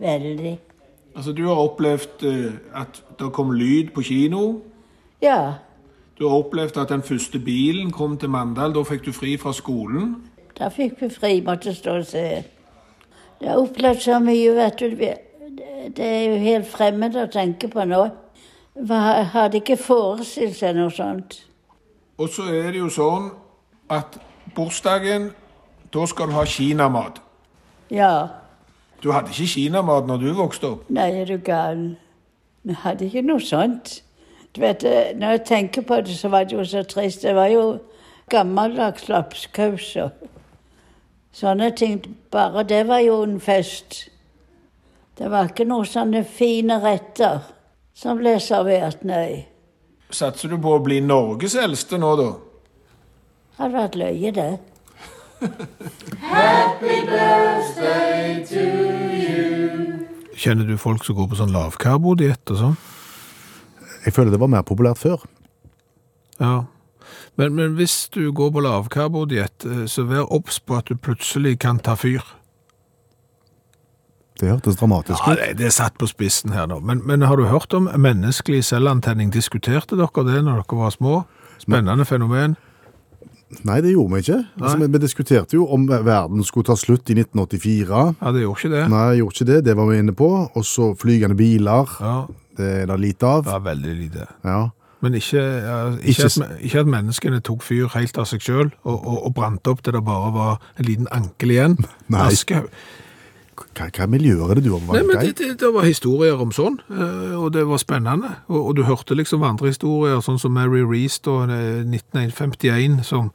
veldig.
Altså, du har opplevd eh, at det kom lyd på kino.
Ja,
Du har opplevd at den første bilen kom til Mandal, da fikk du fri fra skolen.
Da fikk vi fri, måtte stå og se. Jeg har opplevd så mye, vet du. Vi- Det det er jo helt fremmed å tenke på nå. Hva- Hadde ikke forestilt seg noe sånt.
Og så er det jo sånn at bursdagen, da skal du ha kinamat.
Ja.
Du hadde ikke kinamat når du vokste opp.
Nei, er du gal. Vi hadde ikke noe sånt. Du vet, eh, Når jeg tenker på det, så var det jo så trist. Det var jo gammeldags lapskaus og sånne ting. Bare det var jo en fest. Det var ikke noen sånne fine retter som ble servert, nei.
Satser du på å bli Norges eldste nå, da?
Det hadde vært løye, det.
Kjenner du folk som går på sånn lavkarbodiett og sånn?
Jeg føler det var mer populært før.
Ja. Men, men hvis du går på lavkarbodiett, eh, så vær obs på at du plutselig kan ta fyr.
Det hørtes dramatisk
Ja,
ut.
det, det er satt på spissen her nå. Men, men har du hørt om menneskelig selvantenning? Diskuterte dere det når dere var små? Spennende fenomen.
Nei, det gjorde vi ikke. Altså, vi, vi diskuterte jo om verden skulle ta slutt i 1984.
Ja, det gjorde ikke det.
Nei, gjorde ikke det. Det var vi inne på. Og så flygende biler.
Ja,
Det er det lite av.
det var veldig lite.
Ja.
Men ikke, ja, ikke,
Ikke
at,
s-
me- ikke at menneskene tok fyr helt av seg sjøl og, og, og brant opp til det bare var en liten ankel igjen.
Nei.
Aschehoug.
Hva, hva miljøer er det du
Nei, men
overvåker?
det,
i?
det, det var historier om sånn, eh, og det var spennende. Og, og du hørte liksom andre historier, sånn som Mary Rees da, eh, 1951, som,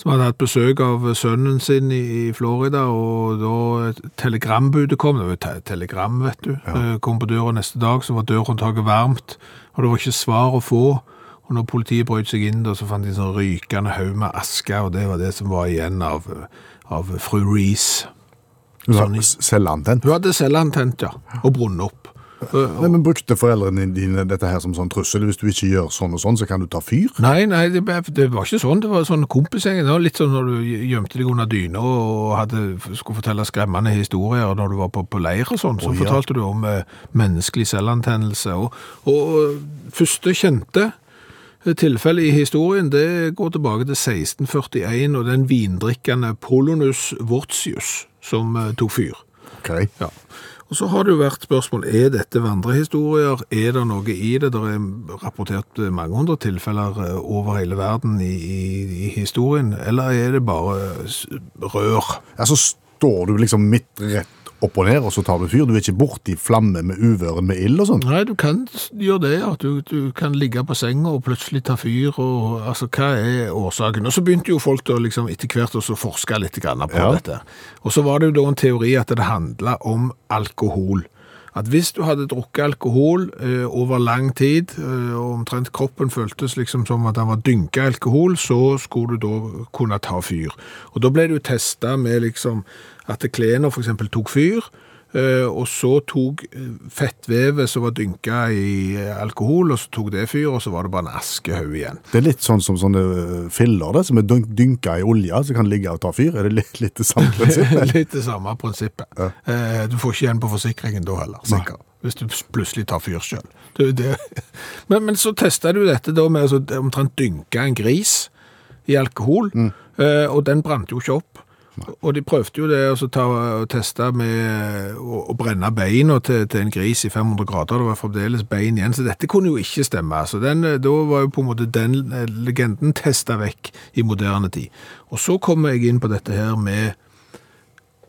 som hadde hatt besøk av sønnen sin i, i Florida, og da et telegrambudet kom, det var jo te telegram, vet du, eh, kom på døra neste dag, så var dørhåndtaket varmt, og det var ikke svar å få. Og når politiet brøt seg inn, da, så fant de en sånn rykende haug med aske, og det var det som var igjen av, av fru Rees.
Hun har
sånn i-
Selvantent.
Hun hadde selvantent, ja, og brunnet opp.
Nei, men Brukte foreldrene dine dette her som sånn trussel? Hvis du ikke gjør sånn og sånn, så kan du ta fyr?
Nei, nei, det, ble- det var ikke sånn. Det var sånn kompisgjeng. Det var litt sånn når du gjemte deg under dyna og hadde, skulle fortelle skremmende historier når du var på, på leir og sånn. Så
Å, ja.
fortalte du om eh, menneskelig selvantennelse. Og, og første kjente eh, tilfelle i historien, det går tilbake til 1641 og den vindrikkende Polonus Vortius som eh, tok fyr.
Ok.
Ja. Og så har det jo vært spørsmål, er dette vandrehistorier? Er det noe i det? Det er rapportert mange hundre tilfeller eh, over hele verden i, i, i historien. Eller er det bare s- rør?
Ja, så Altså, står du liksom midt rett opp og ned, og så tar du fyr. Du er ikke borti flamme med uvøren med ild og sånn.
Nei, du kan s- gjøre det, at du, du kan ligge på senga og plutselig ta fyr, og altså, hva er årsaken? Og så begynte jo folk da liksom etter hvert også å forske litt grann på
Ja.
dette. Og så var det jo da en teori at det handlet om alkohol. At hvis du hadde drukket alkohol eh, over lang tid, eh, og omtrent kroppen føltes liksom som at den var dynket alkohol, så skulle du da kunne ta fyr. Og da ble det jo testet med liksom at klene for eksempel tok fyr, Eh, Og så tok eh, fettvevet som var dynka i eh, alkohol, og så tok det fyr, og så var det bare en askehaug igjen.
Det er litt sånn som sånne øh, filler, det, som er dyn dynka i olje, som kan ligge og ta fyr. Er det litt, litt det samme prinsippet?
Litt det samme prinsippet. Eh, Du får ikke igjen på forsikringen da heller, sikkert. Hvis du plutselig tar fyr sjøl. Men, men så testa du dette da med å altså, omtrent dynke en gris i alkohol, eh, og den brant jo ikke opp. Og de prøvde jo det å ta, å teste med å, å brenne beina til, til en gris i 500 grader. Det var fremdeles bein igjen, så dette kunne jo ikke stemme. Så den, eh, da var jo på en måte den eh, legenden testa vekk i moderne tid. Og så kommer jeg inn på dette her med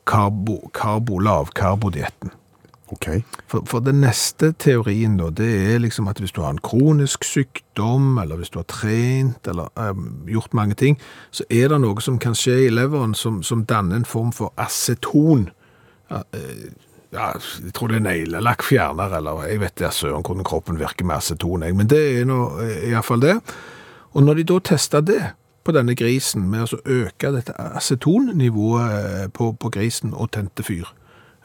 karbo, karbo lavkarbodietten.
Ok.
For, for den neste teorien da, det er liksom at hvis du har en kronisk sykdom, eller hvis du har trent, eller eh, gjort mange ting, så er det noe som kan skje i leveren som, som danner en form for aceton. Ja, eh, ja, jeg tror det er neglelakk fjerner, eller jeg vet det er søren hvordan kroppen virker med aceton, jeg, men det er nå eh, i hvert fall det. Og når de da testa det på denne grisen, med å så øke dette acetonnivået eh, på, på grisen og tente fyr,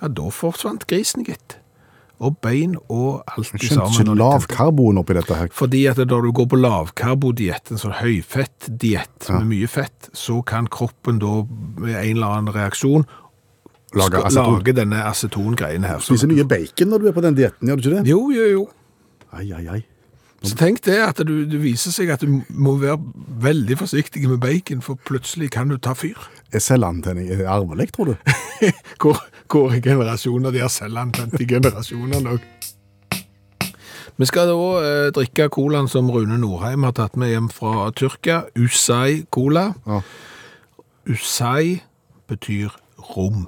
ja, da forsvant grisen, gitt. Og bein og alt
Jeg
i
skjønte
sammen. når
ikke
de tente.
lavkarbon oppi dette her.
Fordi at når du går på lavkarbodiett, en sånn høyfettdiett med mye fett, så kan kroppen da med en eller annen reaksjon
Lager
skal-
aceton.
lage denne acetongreien her. Så-
Spiser mye bacon når du er på den dietten, gjør du ikke det?
Jo, jo, jo.
Ai, ai, ai.
Så tenk det at du, det viser seg at du må være veldig forsiktig med bacon, for plutselig kan du ta fyr.
Er selvantenning er det arvelig, tror du?
Hvor, hvor er generasjoner de har selvantente generasjoner nok? Vi skal da eh, drikke colaen som Rune Norheim har tatt med hjem fra Tyrkia. Usai cola.
Ja.
Usai betyr rom.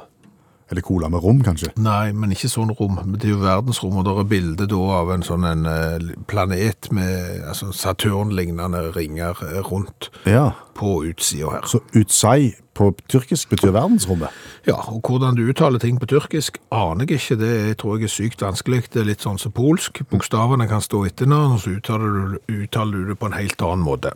Er det cola med rom, kanskje?
Nei, men ikke sånn rom. Det er jo verdensrom, og det er bilde da av en sånn en eh, planet med altså Saturn-lignende ringer eh, rundt
Ja.
på utsida her.
Så utsai på tyrkisk betyr verdensrommet.
Ja, og hvordan du uttaler ting på tyrkisk, aner jeg ikke. Det er- tror jeg er sykt vanskelig. Det er litt sånn som polsk. Bokstavene kan stå etter hverandre, og så uttaler du, uttaler du det på en helt annen måte.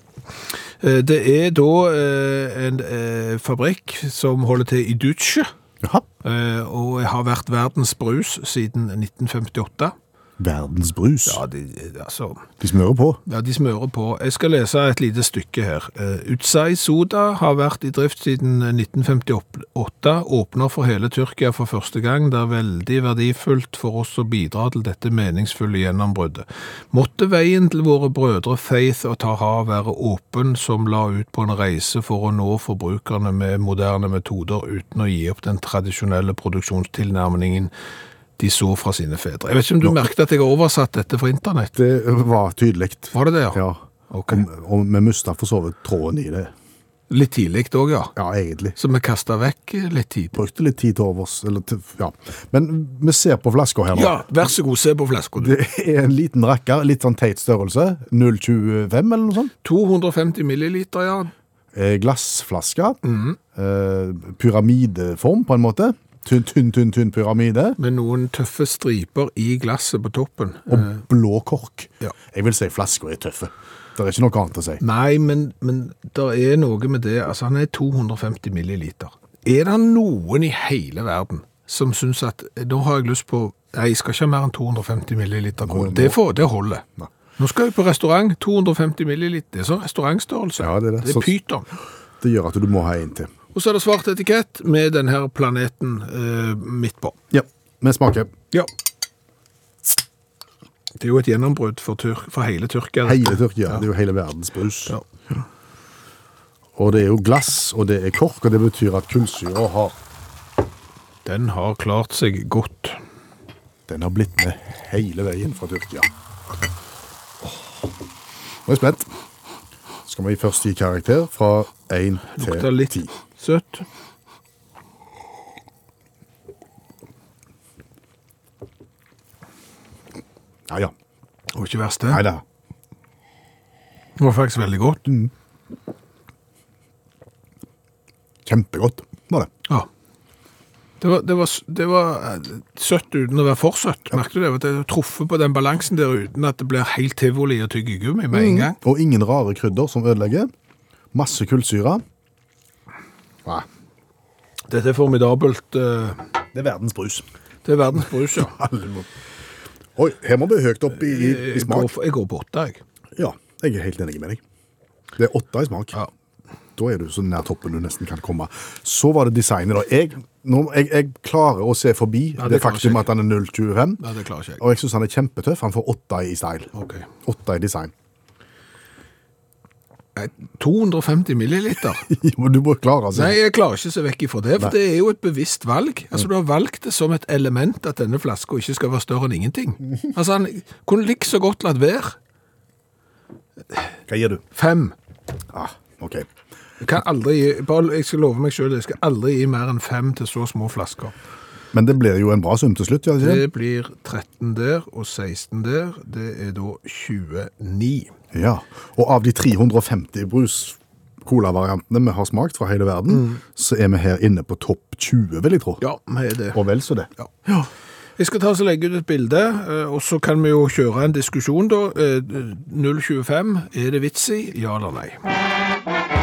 Eh, Det er da eh, en eh, fabrikk som holder til i Dutsje,
Jaha.
eh, og har vært verdens brus siden 1958.
Verdensbrus.
Ja, de, altså,
De smører på.
ja, de smører på. Jeg skal lese et lite stykke her. Eh, Utsai Soda har vært i drift siden 1958, åpner for hele Tyrkia for første gang. Det er veldig verdifullt for oss å bidra til dette meningsfulle gjennombruddet. Måtte veien til våre brødre Faith og Taha være åpen som la ut på en reise for å nå forbrukerne med moderne metoder uten å gi opp den tradisjonelle produksjonstilnærmingen de så fra sine fedre. Jeg vet ikke om du merket at jeg har oversatt dette fra internett?
Det var tydelig.
Var det det,
Ja.
Ok.
Og, og vi mista for så vidt tråden i det.
Litt tidlig òg, ja.
Ja, egentlig.
Så vi kasta vekk litt tid.
Brukte litt tid til overs. Eller til, ja. Men vi ser på flaska her nå.
Ja, vær så god, se på flaska.
Det er en liten rakker, litt sånn teit størrelse. 0,25 eller noe sånt.
250 milliliter, ja.
Eh, Glassflaske. Eh, pyramideform, på en måte. Tynn, tynn, tynn, tynn pyramide.
Med noen tøffe striper i glasset på toppen. Eh,
Og blå kork.
Ja.
Jeg vil si flaska er tøffe. Det er ikke noe annet å si.
Nei, men, men det er noe med det. Altså, han er 250 milliliter. Er det noen i hele verden som syns at eh, da har jeg lyst på Nei, jeg skal ikke ha mer enn 250 milliliter
Nå-
cola.
nå-
Det, får, det holder.
Nei.
Nå skal jeg på restaurant. 250 milliliter. Det er sånn restaurantstørrelse.
Ja, det er det.
Det
Så-
er pyton.
Det gjør at du må ha en til.
Og så er det svart etikett med denne her planeten eh, midt på.
Ja, vi smaker.
Ja. Det er jo et gjennombrudd for, tyrk- for hele Tyrkia. dette.
Hele Tyrkia. Det er jo hele verdens brus.
Ja.
Og det er jo glass, og det er kork, og det betyr at kullsyra har
Den har klart seg godt.
Den har blitt med hele veien fra Tyrkia. Nå er jeg spent. Skal vi først gi karakter fra 1
Lukter
til
litt
10.
søtt.
Ja, ja.
Det var ikke verst, det.
Nei da.
Det var faktisk veldig godt.
Kjempegodt var det.
Ja. Det var, det, var, s- det var eh, søtt uten å være for søtt. Merket du det? At det truffet på den balansen der uten at det blir helt tivoli og tyggegummi med
Mm.
en gang.
Og ingen rare krydder som ødelegger. Masse kullsyre. Nei,
Dette er formidabelt. eh,
det er verdens brus.
Det er verdens brus, ja.
Alle må- Oi, her må vi høyt opp i, i, i
Jeg går,
smak.
for, jeg går på åtte, jeg.
Ja, jeg er helt enig med deg. Det er åtte i smak.
Ja.
Da er du så nær toppen du nesten kan komme. Så var det designet, da. Jeg, nå, jeg, jeg klarer å se forbi
Ja,
det,
det klarer
faktum
ikke jeg.
at han er 0,25.
Nei, det klarer ikke jeg.
Og jeg syns han er kjempetøff. Han får åtte i style.
Ok.
Åtte i design.
Nei, 250 milliliter?
Men du må klare altså.
Nei, jeg klarer ikke å se vekk ifra det, for det er jo et bevisst valg. Altså, Du har valgt det som et element at denne flaska ikke skal være større enn ingenting. Altså, Han kunne like så godt latt være.
Hva gir du?
Fem.
Ah, OK.
Jeg kan aldri gi, bare, jeg skal love meg sjøl, jeg skal aldri gi mer enn fem til så små flasker.
Men det blir jo en bra sum til slutt, gjør det ikke?
Det blir 13 der og 16 der. Det er da 29.
det? Ja. Og av de 350 brus-cola-variantene vi har smakt fra hele verden, så er vi her inne på topp 20, vil jeg tro.
Mm. Ja, vi er det.
Og vel så det.
Ja. Jeg skal ta oss og legge ut et bilde, eh, og så kan vi jo kjøre en diskusjon da. Eh, 025, er det vits i? Ja eller nei?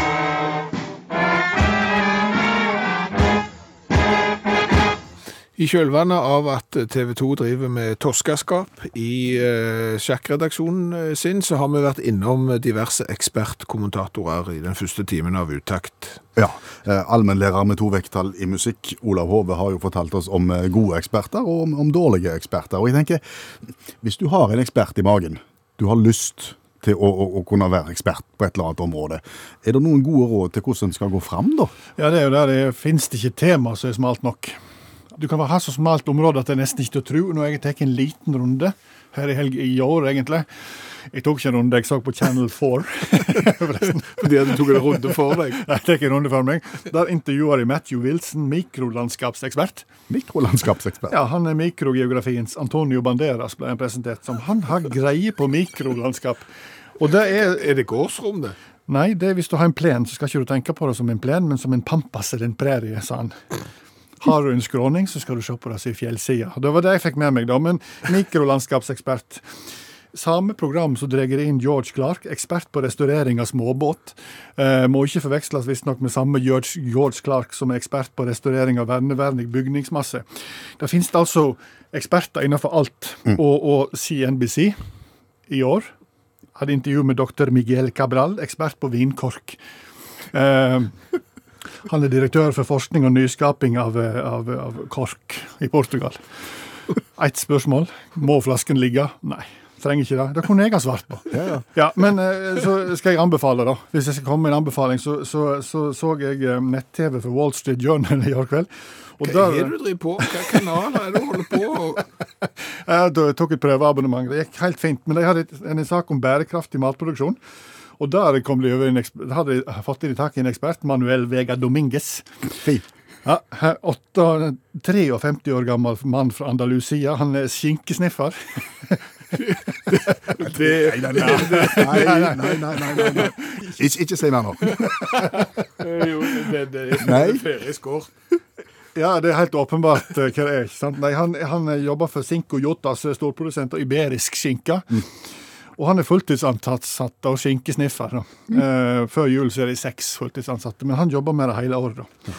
I kjølvannet av at TV 2 driver med toskaskap i eh, sjakkredaksjonen eh, sin, så har vi vært innom diverse ekspertkommentatorer i den første timen av uttakt.
Ja, eh, Allmennlærer med to vekttall i musikk, Olav Hove, har jo fortalt oss om eh, gode eksperter og om, om dårlige eksperter. Og jeg tenker, Hvis du har en ekspert i magen, du har lyst til å, å, å kunne være ekspert på et eller annet område, er det noen gode råd til hvordan en skal gå fram, da?
Ja, det er jo der det fins det ikke tema som er smalt nok. Du kan ha så smalt område at det er nesten ikke til å tro. Nå har jeg tatt en liten runde her i helg i år, egentlig. Jeg tok ikke en runde, jeg så på Channel 4. Forresten.
Fordi du tok en runde for deg.
Jeg tar en runde for meg. Der intervjuer jeg Matthew Wilson, mikrolandskapsekspert.
Mikrolandskapsekspert.
Ja, Han er mikrogeografiens Antonio Banderas, ble han presentert som. Han har greie på mikrolandskap. Og det er
Er det gårdsrom, det?
Nei, det er hvis du har en plen, så skal ikke du tenke på det som en plen, men som en pampas eller en prærie, sa han. Har du en skråning, så skal du se på det som en fjellside. Det var det jeg fikk med meg, da. Men mikrolandskapsekspert. Samme program så drar jeg inn George Clark, ekspert på restaurering av småbåt. Eh, må ikke forveksles visstnok med samme George, George Clark som er ekspert på restaurering av verneverdig bygningsmasse. Det finnes altså eksperter innenfor alt, og, og CNBC i år hadde intervju med dr. Miguel Cabral, ekspert på vinkork. Eh, han er direktør for forskning og nyskaping av, eh, av, av kork i Portugal. Ett spørsmål. Må flasken ligge? Nei. Trenger ikke det. Det kunne jeg ha svart på. Ja, men eh, så skal jeg anbefale, da. Hvis jeg skal komme med en anbefaling, så så, så, så jeg eh, nett-TV for Wall Street Journal i går kveld. Og
Hva er det du driver på? Hvilke kanaler er det du holder på?
Jeg tok et prøveabonnement. Det gikk helt fint. Men de hadde et- en sak om bærekraftig matproduksjon. Og der kom de over en eksper- hadde de fått i tak i en ekspert, Manuel Vega Dominguez.
Fy.
Ja, he- åtta- 53 år gammel mann fra Andalusia. Han er skinkesniffer.
Nei, nei, nei. nei, nei, nei, nei, nei, nei. Ikke, ikke si mer nå.
jo, det,
Nei.
Ja, det er helt åpenbart eh, hva det er. ikke sant? Nei, Han, han eh, jobber for Cinco Jotas, eh, storprodusent av iberisk skinke. Og han er fulltidsansatt og skinkesniffer. Da. Eh, før jul så er de seks fulltidsansatte, men han jobber med det hele året. da.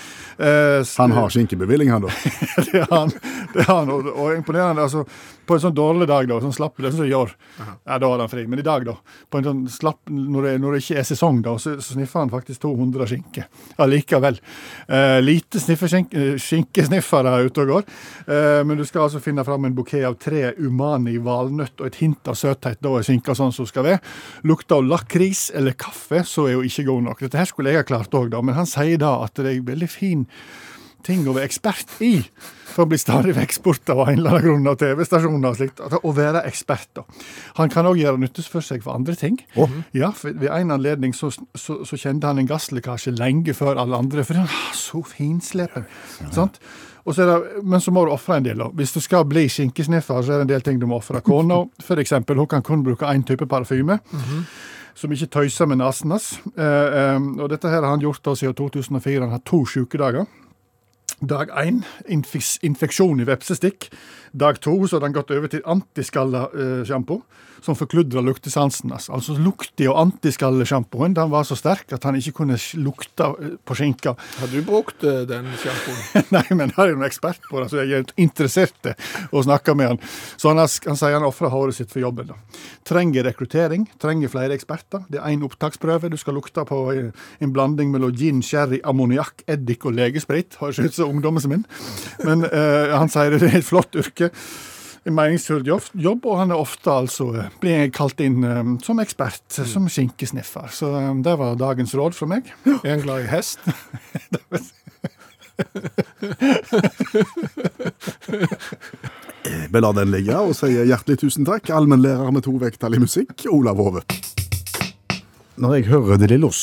Eh, så-
Han har skinkebevilling, han, da.
det er han. Det er han. Og, og imponerende. altså, På en sånn dårlig dag, da, sånn slapp det er sånn som i år, ja, da har han fri. Men i dag, da, på en sånn slapp, når det, når det ikke er sesong, da, så, så sniffer han faktisk 200 skinker allikevel. Eh, lite sniffeskink- eh, skinkesniffere er ute og går. Eh, men du skal altså finne fram en bukett av tre umani valnøtt og et hint av søthet. Da er skinka sånn som skal være. Lukter av lakris eller kaffe, så er hun ikke god nok. Dette her skulle jeg ha klart òg, da, men han sier da at det er veldig fin ting å være ekspert i. For å bli stadig vekk spurt av en eller annen grunn av TV-stasjoner og slikt. At Å være ekspert, da. Han kan òg gjøre nytte for seg for andre ting. Ja, for Ved en anledning så, så, så kjente han en gasslekkasje lenge før alle andre. For han var så finslepen. sant? Og så er det, men så må du ofre en del. da. Hvis du skal bli skinkesniffer, så er det en del ting du må ofre. Kona f.eks. hun kan kun bruke én type parfyme som ikke tøyser med nesen hans. Eh, eh, og dette her har han gjort da siden 2004. Han har to sykedager. Dag én infis- infeksjon i vepsestikk. Dag to så hadde han gått over til antiskallesjampo, som forkludra luktesansen hans. Altså lukta og antiskallesjampoen den var så sterk at han ikke kunne s- lukte eh, på skinka.
Har du brukt eh, den sjampoen?
Nei, men her er det en ekspert på det, så jeg er interessert i å snakke med han. Så han, har, han sier han ofrer håret sitt for jobben. da. Trenger rekruttering, trenger flere eksperter. Det er én opptaksprøve. Du skal lukte på eh, en blanding mellom gin, sherry, ammoniakk, eddik og legesprit. Høres ut som ungdommen min. Men eh, han sier det er et flott yrke. En meningsfull jobb, jobb, og han er ofte altså eh, blir kalt inn eh, som ekspert, eh, som skinkesniffer. Så eh, det var dagens råd fra meg.
Er han glad i hest?
Vi lar den ligge og sier hjertelig tusen takk, allmennlærer med to vekttall i musikk, Olav Hove. Når jeg hører De Lillos,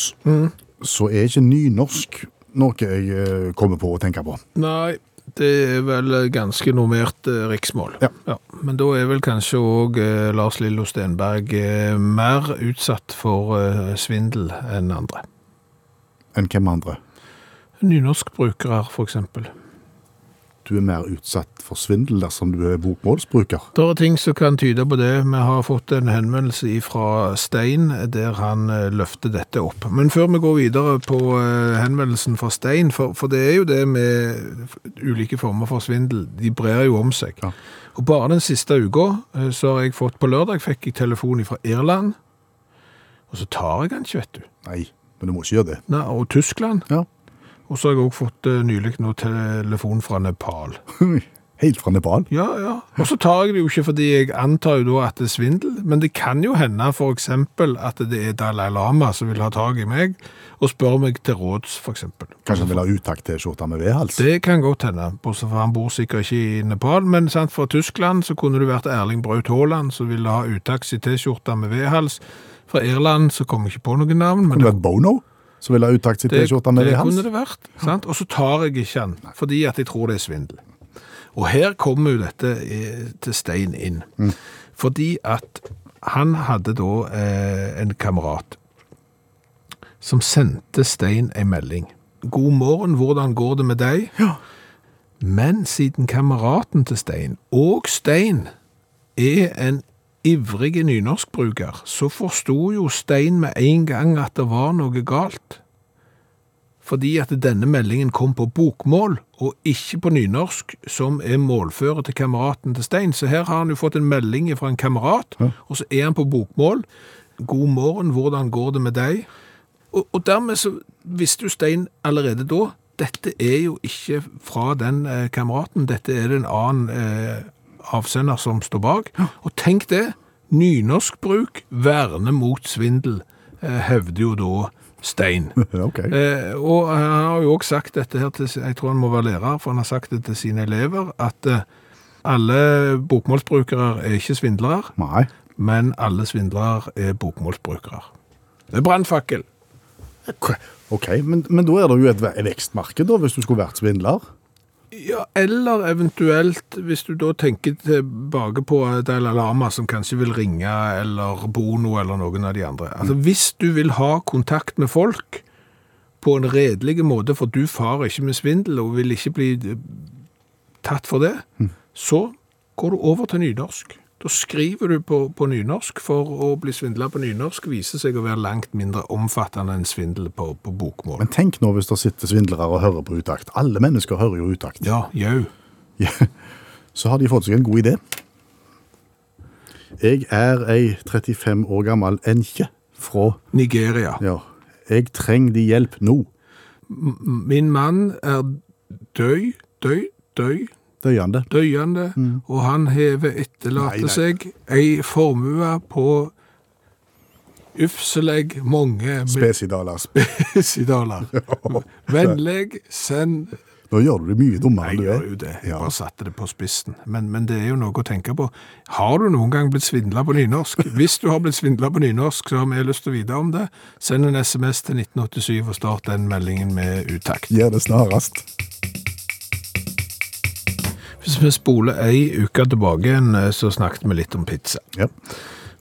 så er ikke nynorsk noe jeg eh, kommer på å tenke på.
Nei, det er vel eh, ganske normert eh, riksmål.
Ja.
Men da er vel kanskje òg eh, Lars Lillo Stenberg eh, mer utsatt for eh, svindel enn andre.
Enn hvem andre?
Nynorskbrukere, f.eks.
Du er mer utsatt for svindel dersom du er bokmålsbruker.
Det er ting som kan tyde på det. Vi har fått en henvendelse fra Stein, der han eh, løfter dette opp. Men før vi går videre på eh, henvendelsen fra Stein, for, for det er jo det med ulike former for svindel, de brer jo om seg.
Ja.
Og bare den siste uka eh, så har jeg fått På lørdag fikk jeg telefon fra Irland, og så tar jeg den ikke, vet du.
Nei, men du må ikke gjøre det.
Nei, og Tyskland.
Ja.
Og så har jeg òg fått eh, nylig nå telefon fra Nepal.
Helt fra Nepal.
Ja, ja. Og så tar jeg det jo ikke fordi jeg antar jo da at det er svindel, men det kan jo hende for eksempel at det er Dalai Lama som vil ha tag i meg og spør meg til råds, for eksempel.
Kanskje han vil ha utakt-T-skjorte med vedhals?
Det kan godt hende, bortsett fra han bor sikkert ikke i Nepal, men sant, fra Tyskland så kunne det vært Erling Braut Haaland som ville ha uttaks i T-skjorta med vedhals. Fra Irland så kom jeg ikke på noe navn, men
Kunne det vært Bono som ville ha utakt T-skjorte med
det
vedhals?
kunne det vært. Sant? Og så tar jeg ikke den, fordi at jeg tror det er svindel. Og her kommer jo dette eh, til Stein inn. Fordi at han hadde da eh, en kamerat som sendte Stein en melding. God morgen, hvordan går det med deg? Men siden kameraten til Stein, og Stein, er en ivrig nynorskbruker, så forsto jo Stein med en gang at det var noe galt fordi at denne meldingen kom på bokmål og ikke på nynorsk, som er målfører til kameraten til Stein. Så her har han jo fått en melding fra en kamerat, og så er han på bokmål. God morgen, hvordan går det med deg? Og, og dermed så visste jo Stein allerede da, dette er jo ikke fra den eh, kameraten, dette er det en annen eh, avsender som står bak. Og tenk det, nynorsk bruk verner mot svindel, eh, hevder jo da Stein.
ok.
Eh, og han har jo også sagt dette her til, jeg tror han må være lærer, for han har sagt det til sine elever, at eh, alle bokmålsbrukere er ikke svindlere,
Nei.
men alle svindlere er bokmålsbrukere. Det er brannfakkel.
OK, men, men da er det jo et ve- vekstmarked, da, hvis du skulle vært svindler.
Ja, eller eventuelt, hvis du da tenker tilbake på Dalai Lama, som kanskje vil ringe, eller Bono, eller noen av de andre. Altså, Hvis du vil ha kontakt med folk på en redelig måte, for du farer ikke med svindel og vil ikke bli eh, tatt for det, så går du over til nynorsk. Da skriver du på, på nynorsk, for å bli svindla på nynorsk viser seg å være langt mindre omfattende enn svindel på, på bokmål.
Men tenk nå hvis det sitter svindlere og hører på utakt. Alle mennesker hører jo utakt.
Ja, jau.
Ja. Så har de fått seg en god idé. Jeg er ei 35 år gammel enkje fra
Nigeria.
Ja. Jeg trenger de hjelp nå.
Min mann er døy, døy, døy,
Døyende.
døyende, og han hever
Mm. Nei, nei.
etterlater seg ei formue på ufseleg mange
Spesidaler.
spesidaler. Vennlig, send
Nå gjør du det mye dummere
Jeg
enn du
gjør
er.
jo det. Jeg
Ja.
bare satte det på spissen. Men, men det er jo noe å tenke på. Har du noen gang blitt svindla på nynorsk? Hvis du har blitt svindla på nynorsk, så har vi lyst til å vite om det. Send en SMS til 1987 og start den meldingen med utakt.
Gjør det snarest.
Hvis vi spoler ei uke tilbake igjen, så snakket vi litt om pizza.
Ja.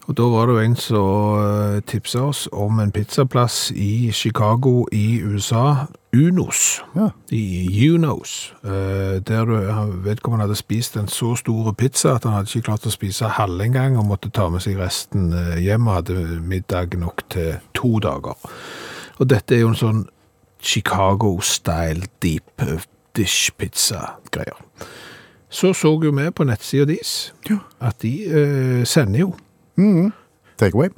Og da var det jo en som tipsa oss om en pizzaplass i Chicago i USA, Unos.
Ja.
I Unos. eh, Der du- han- vedkommende hadde spist en så stor pizza at han hadde ikke klart å spise halve engang, og måtte ta med seg resten eh, hjem, og hadde middag nok til to dager. Og dette er jo en sånn Chicago-style deep eh, dish-pizza-greier. Så så jo vi på nettsida deres at de eh, sender jo
Mm-hmm. Takeaway.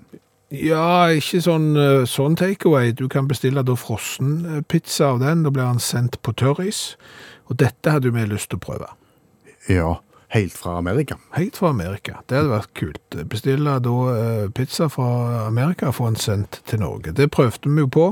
ja, ikke sånn, eh, sånn takeaway. Du kan bestille da frossen eh, pizza av den, da blir han sendt på tørris. Og dette hadde jo vi lyst til å prøve.
Ja. Helt fra Amerika.
Helt fra Amerika. Det hadde vært kult. Bestille da eh, pizza fra Amerika og få den sendt til Norge. Det prøvde vi jo på.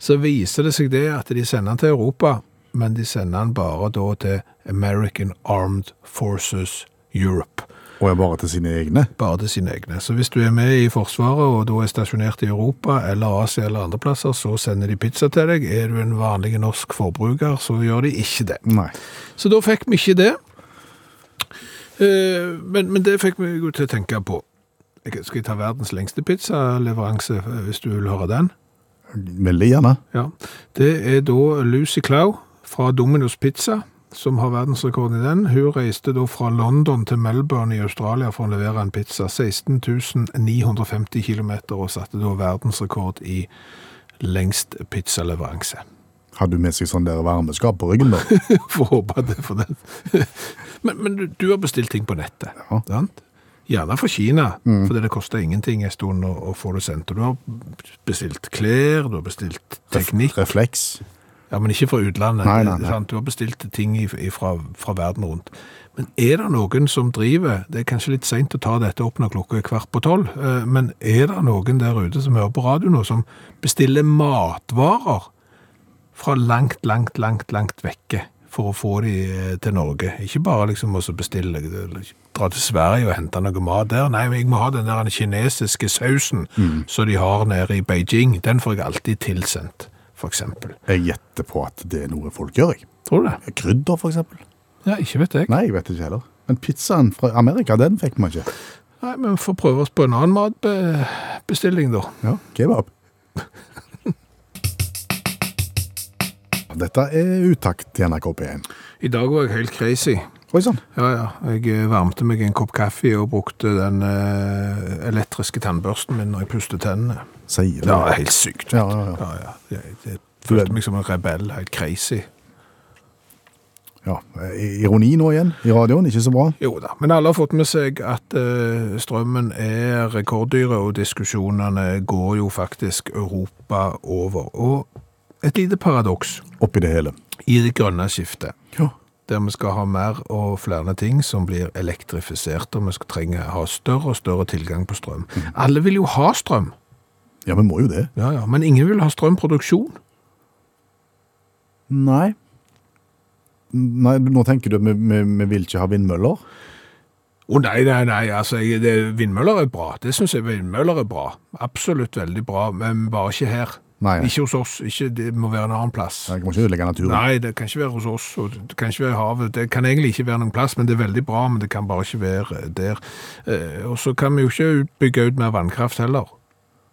Så viser det seg det at de sender den til Europa, men de sender den bare da til American Armed Forces Europe.
Og er bare til sine egne.
bare til sine egne. Så hvis du er med i Forsvaret og da er stasjonert i Europa eller Asia eller andre plasser, så sender de pizza til deg. Er du en vanlig norsk forbruker, så gjør de ikke det.
Nei.
Så da fikk vi ikke det. Eh, Men, men det fikk vi jo til å tenke på. Jeg- Skal jeg ta verdens lengste pizzaleveranse, eh, hvis du vil høre den?
Veldig gjerne.
Ja. Det er da Lucy Clau fra Domino's Pizza, som har verdensrekorden i den. Hun reiste da fra London til Melbourne i Australia for å levere en pizza. 16.950 km og satte da verdensrekord i lengst pizzaleveranse.
Hadde du med seg sånn der varmeskap på ryggen, da?
Får håpe det for den. men men du, du har bestilt ting på nettet.
Ja.
sant? Gjerne fra Kina, fordi det koster ingenting en stund å, å få det sendt. Og du har bestilt klær, du har bestilt teknikk.
Refleks.
Ja, men ikke fra utlandet.
Nei, nei, nei.
Sant? Du har bestilt ting i- fra, fra verden rundt. Men er det noen som driver, det er kanskje litt sent å ta dette opp når klokka er kvart på tolv, eh, men er det noen der ute som hører på radio nå, som bestiller matvarer fra langt, langt, langt, langt vekke for å få de eh, til Norge? Ikke bare liksom å så bestille, eller dra til Sverige og hente noe mat der. Nei, men jeg må ha den der kinesiske sausen
Mm.
som de har nede i Beijing. Den får jeg alltid tilsendt, for eksempel.
Jeg gjetter på at det er noe folk gjør, jeg.
Tror du det?
Krydder, for eksempel.
Ja, ikke vet jeg. Nei,
Nei, jeg vet ikke heller. Men pizzaen fra Amerika, den fikk man ikke.
men vi får prøve oss på en annen matbestilling da.
Ja, kebab. Dette er utakt til NRK P1.
I dag var jeg helt crazy.
Oi sånn. sann.
Ja, ja. Jeg eh, varmte meg en kopp kaffe og brukte den eh, elektriske tannbørsten min når jeg pustet tennene.
Sier
Det
det.
var helt sykt.
Ja, ja, ja.
Ja, ja. Jeg, jeg
Du er-
følte meg som en rebell, helt crazy.
ja. Ironi nå igjen i radioen, ikke så bra.
Jo da, men alle har fått med seg at eh, strømmen er rekorddyre, og diskusjonene går jo faktisk Europa over. Og et lite paradoks
Oppi det hele.
i det grønne skiftet.
Ja.
der vi skal ha mer og flere ting som blir elektrifisert, og vi skal trenge å ha større og større tilgang på strøm. Alle vil jo ha strøm,
ja, vi må jo det.
ja, ja, men ingen vil ha strømproduksjon.
Nei. Nei, Nå tenker du at vi, vi, vi vil ikke ha vindmøller?
Å nei, nei, nei, altså jeg, det, vindmøller er bra. Det syns jeg vindmøller er bra. Absolutt veldig bra, men bare ikke her.
Nei.
Ikke hos oss. Ikke, det må være en annen plass.
Jeg må ikke ødelegge naturen.
Nei, det kan ikke være hos oss, og det kan ikke være i havet. Det kan egentlig ikke være noen plass, men det er veldig bra, men det kan bare ikke være der. Eh, Og så kan vi jo ikke bygge ut mer vannkraft heller.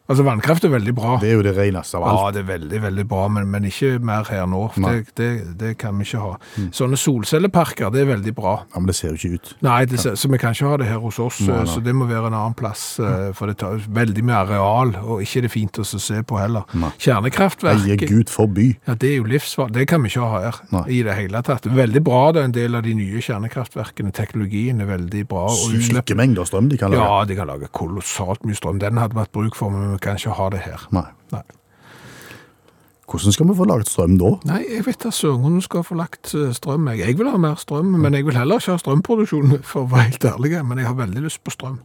Altså, vannkraft er veldig bra.
Det er jo det reneste av alt.
Ja, det er veldig, veldig bra, men, men ikke mer her nå. for
Nei. Mm.
Det, det, det kan vi ikke ha. Sånne solcelleparker, det er veldig bra.
Ja, men det ser jo ikke ut.
Nei, det, ser- så vi kan ikke ha det her hos oss, eh,
Nei, Mm. nei.
så det må være en annen plass. eh, For det tar veldig mye areal, og ikke er det fint å se på heller.
Nei.
Kjernekraftverk
Eie Gud forby.
ja, det er jo livsfarlig. Det kan vi ikke ha her
Nei.
i det hele tatt. Veldig bra det er en del av de nye kjernekraftverkene. Teknologien er veldig bra. Og utslipp.
Syke mengder strøm de kan lage.
Ja, de kan lage kolossalt mye strøm. Den hadde vært bruk for, men vi kan ikke ha det her.
Nei.
Nei,
Hvordan skal vi få laget strøm da?
Nei jeg vet da søren om du skal få lagt eh, strøm. Jeg- Jeg vil ha mer strøm, men jeg vil heller ikke ha strømproduksjon, for å være helt ærlig. Men jeg har veldig lyst på strøm.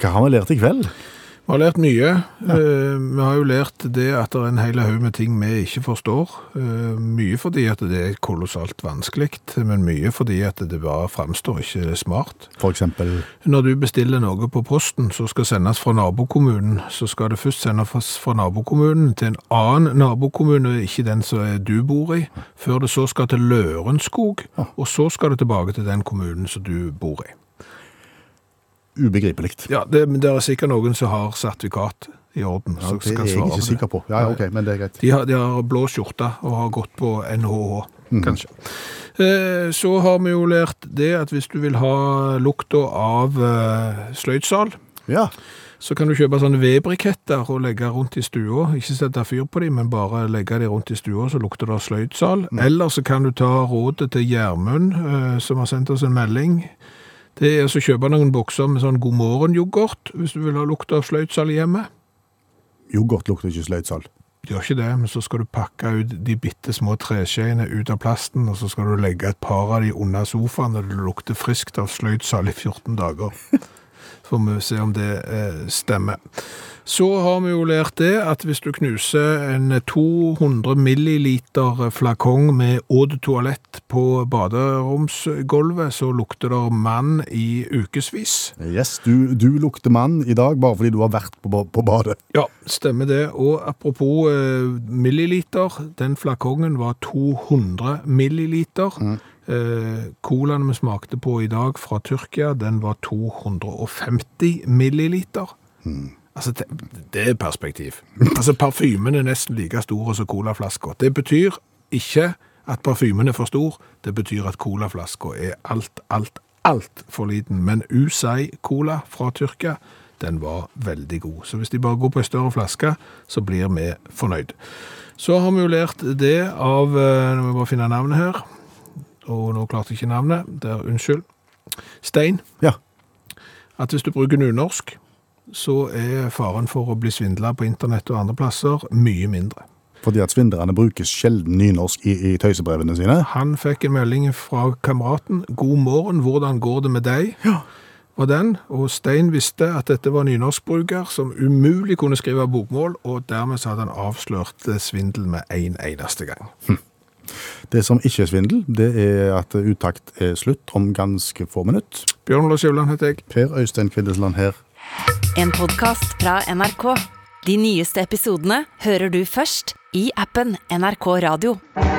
Hva har vi lært i kveld?
Vi har lært mye. Eh, Vi har jo lært det at det er en hel haug med ting vi ikke forstår. Eh, Mye fordi at det er kolossalt vanskelig, men mye fordi at det bare framstår ikke smart.
For eksempel
Når du bestiller noe på posten som skal sendes fra nabokommunen, så skal det først sendes fra nabokommunen til en annen nabokommune, ikke den som du bor i, før det så skal til Lørenskog, og så skal det tilbake til den kommunen som du bor i.
ubegripelig.
Ja, det, men det er sikkert noen som har sertifikat i orden.
Ja,
som
det
skal
er jeg
svare på
ikke
det.
sikker på. Ja, ja, ok, men det er greit.
De har, de har blå skjorte og har gått på NHH, kanskje.
Mhm.
Eh, Så har vi jo lært det at hvis du vil ha lukta av eh, sløydsal,
Ja,
så kan du kjøpe sånne vedbriketter og legge rundt i stua. Ikke sette fyr på dem, men bare legge dem rundt i stua, så lukter det av sløydsal. Eller så kan du ta rådet til Gjermund, eh, som har sendt oss en melding. Det er å kjøpe noen bokser med sånn god morgen-yoghurt, hvis du vil ha lukta av sløydsal i hjemmet.
yoghurt lukter ikke sløydsal.
Gjør ikke det, men så skal du pakke ut de bitte små treskjeene ut av plasten, og så skal du legge et par av de under sofaen, og det lukter friskt av sløydsal i 14 dager. Så får vi se om det eh, stemmer. Så har vi jo lært det at hvis du knuser en 200 milliliter flakong med eau de toalett på baderomsgulvet, så lukter det mann i ukevis.
Yes, du, du lukter mann i dag bare fordi du har vært på, ba- på badet.
Ja, stemmer det. Og apropos eh, milliliter, den flakongen var 200 milliliter. Eh, colaen vi smakte på i dag fra Tyrkia, den var 250 milliliter. Altså, det, det er perspektiv. Altså, parfymen er nesten like stor som colaflasker. Det betyr ikke at parfymen er for stor, det betyr at colaflasker er alt, alt, alt for liten. Men Usai Cola fra Tyrkia, den var veldig god. Så hvis de bare går på en større flaske, så blir vi fornøyd. Så har vi jo lært det av, eh, nå må vi bare finne navnet her, og nå klarte jeg ikke navnet, der, unnskyld, Stein
Ja,
at hvis du bruker nynorsk, så er faren for å bli svindla på internett og andre plasser mye mindre.
fordi at svindlerne bruker sjelden nynorsk i, i tøysebrevene sine.
Han fikk en melding fra kameraten 'God morgen, hvordan går det med deg?' var den, og Stein visste at dette var en nynorskbruker som umulig kunne skrive bokmål, og dermed så hadde han avslørt eh, svindel med en eneste gang.
Det som ikke er svindel, det er at uttakt er slutt om ganske få minutter.
Bjørn Lars Jøvland heter jeg.
Per Øystein Kvindesland her.
En podkast fra NRK. De nyeste episodene hører du først i appen NRK Radio.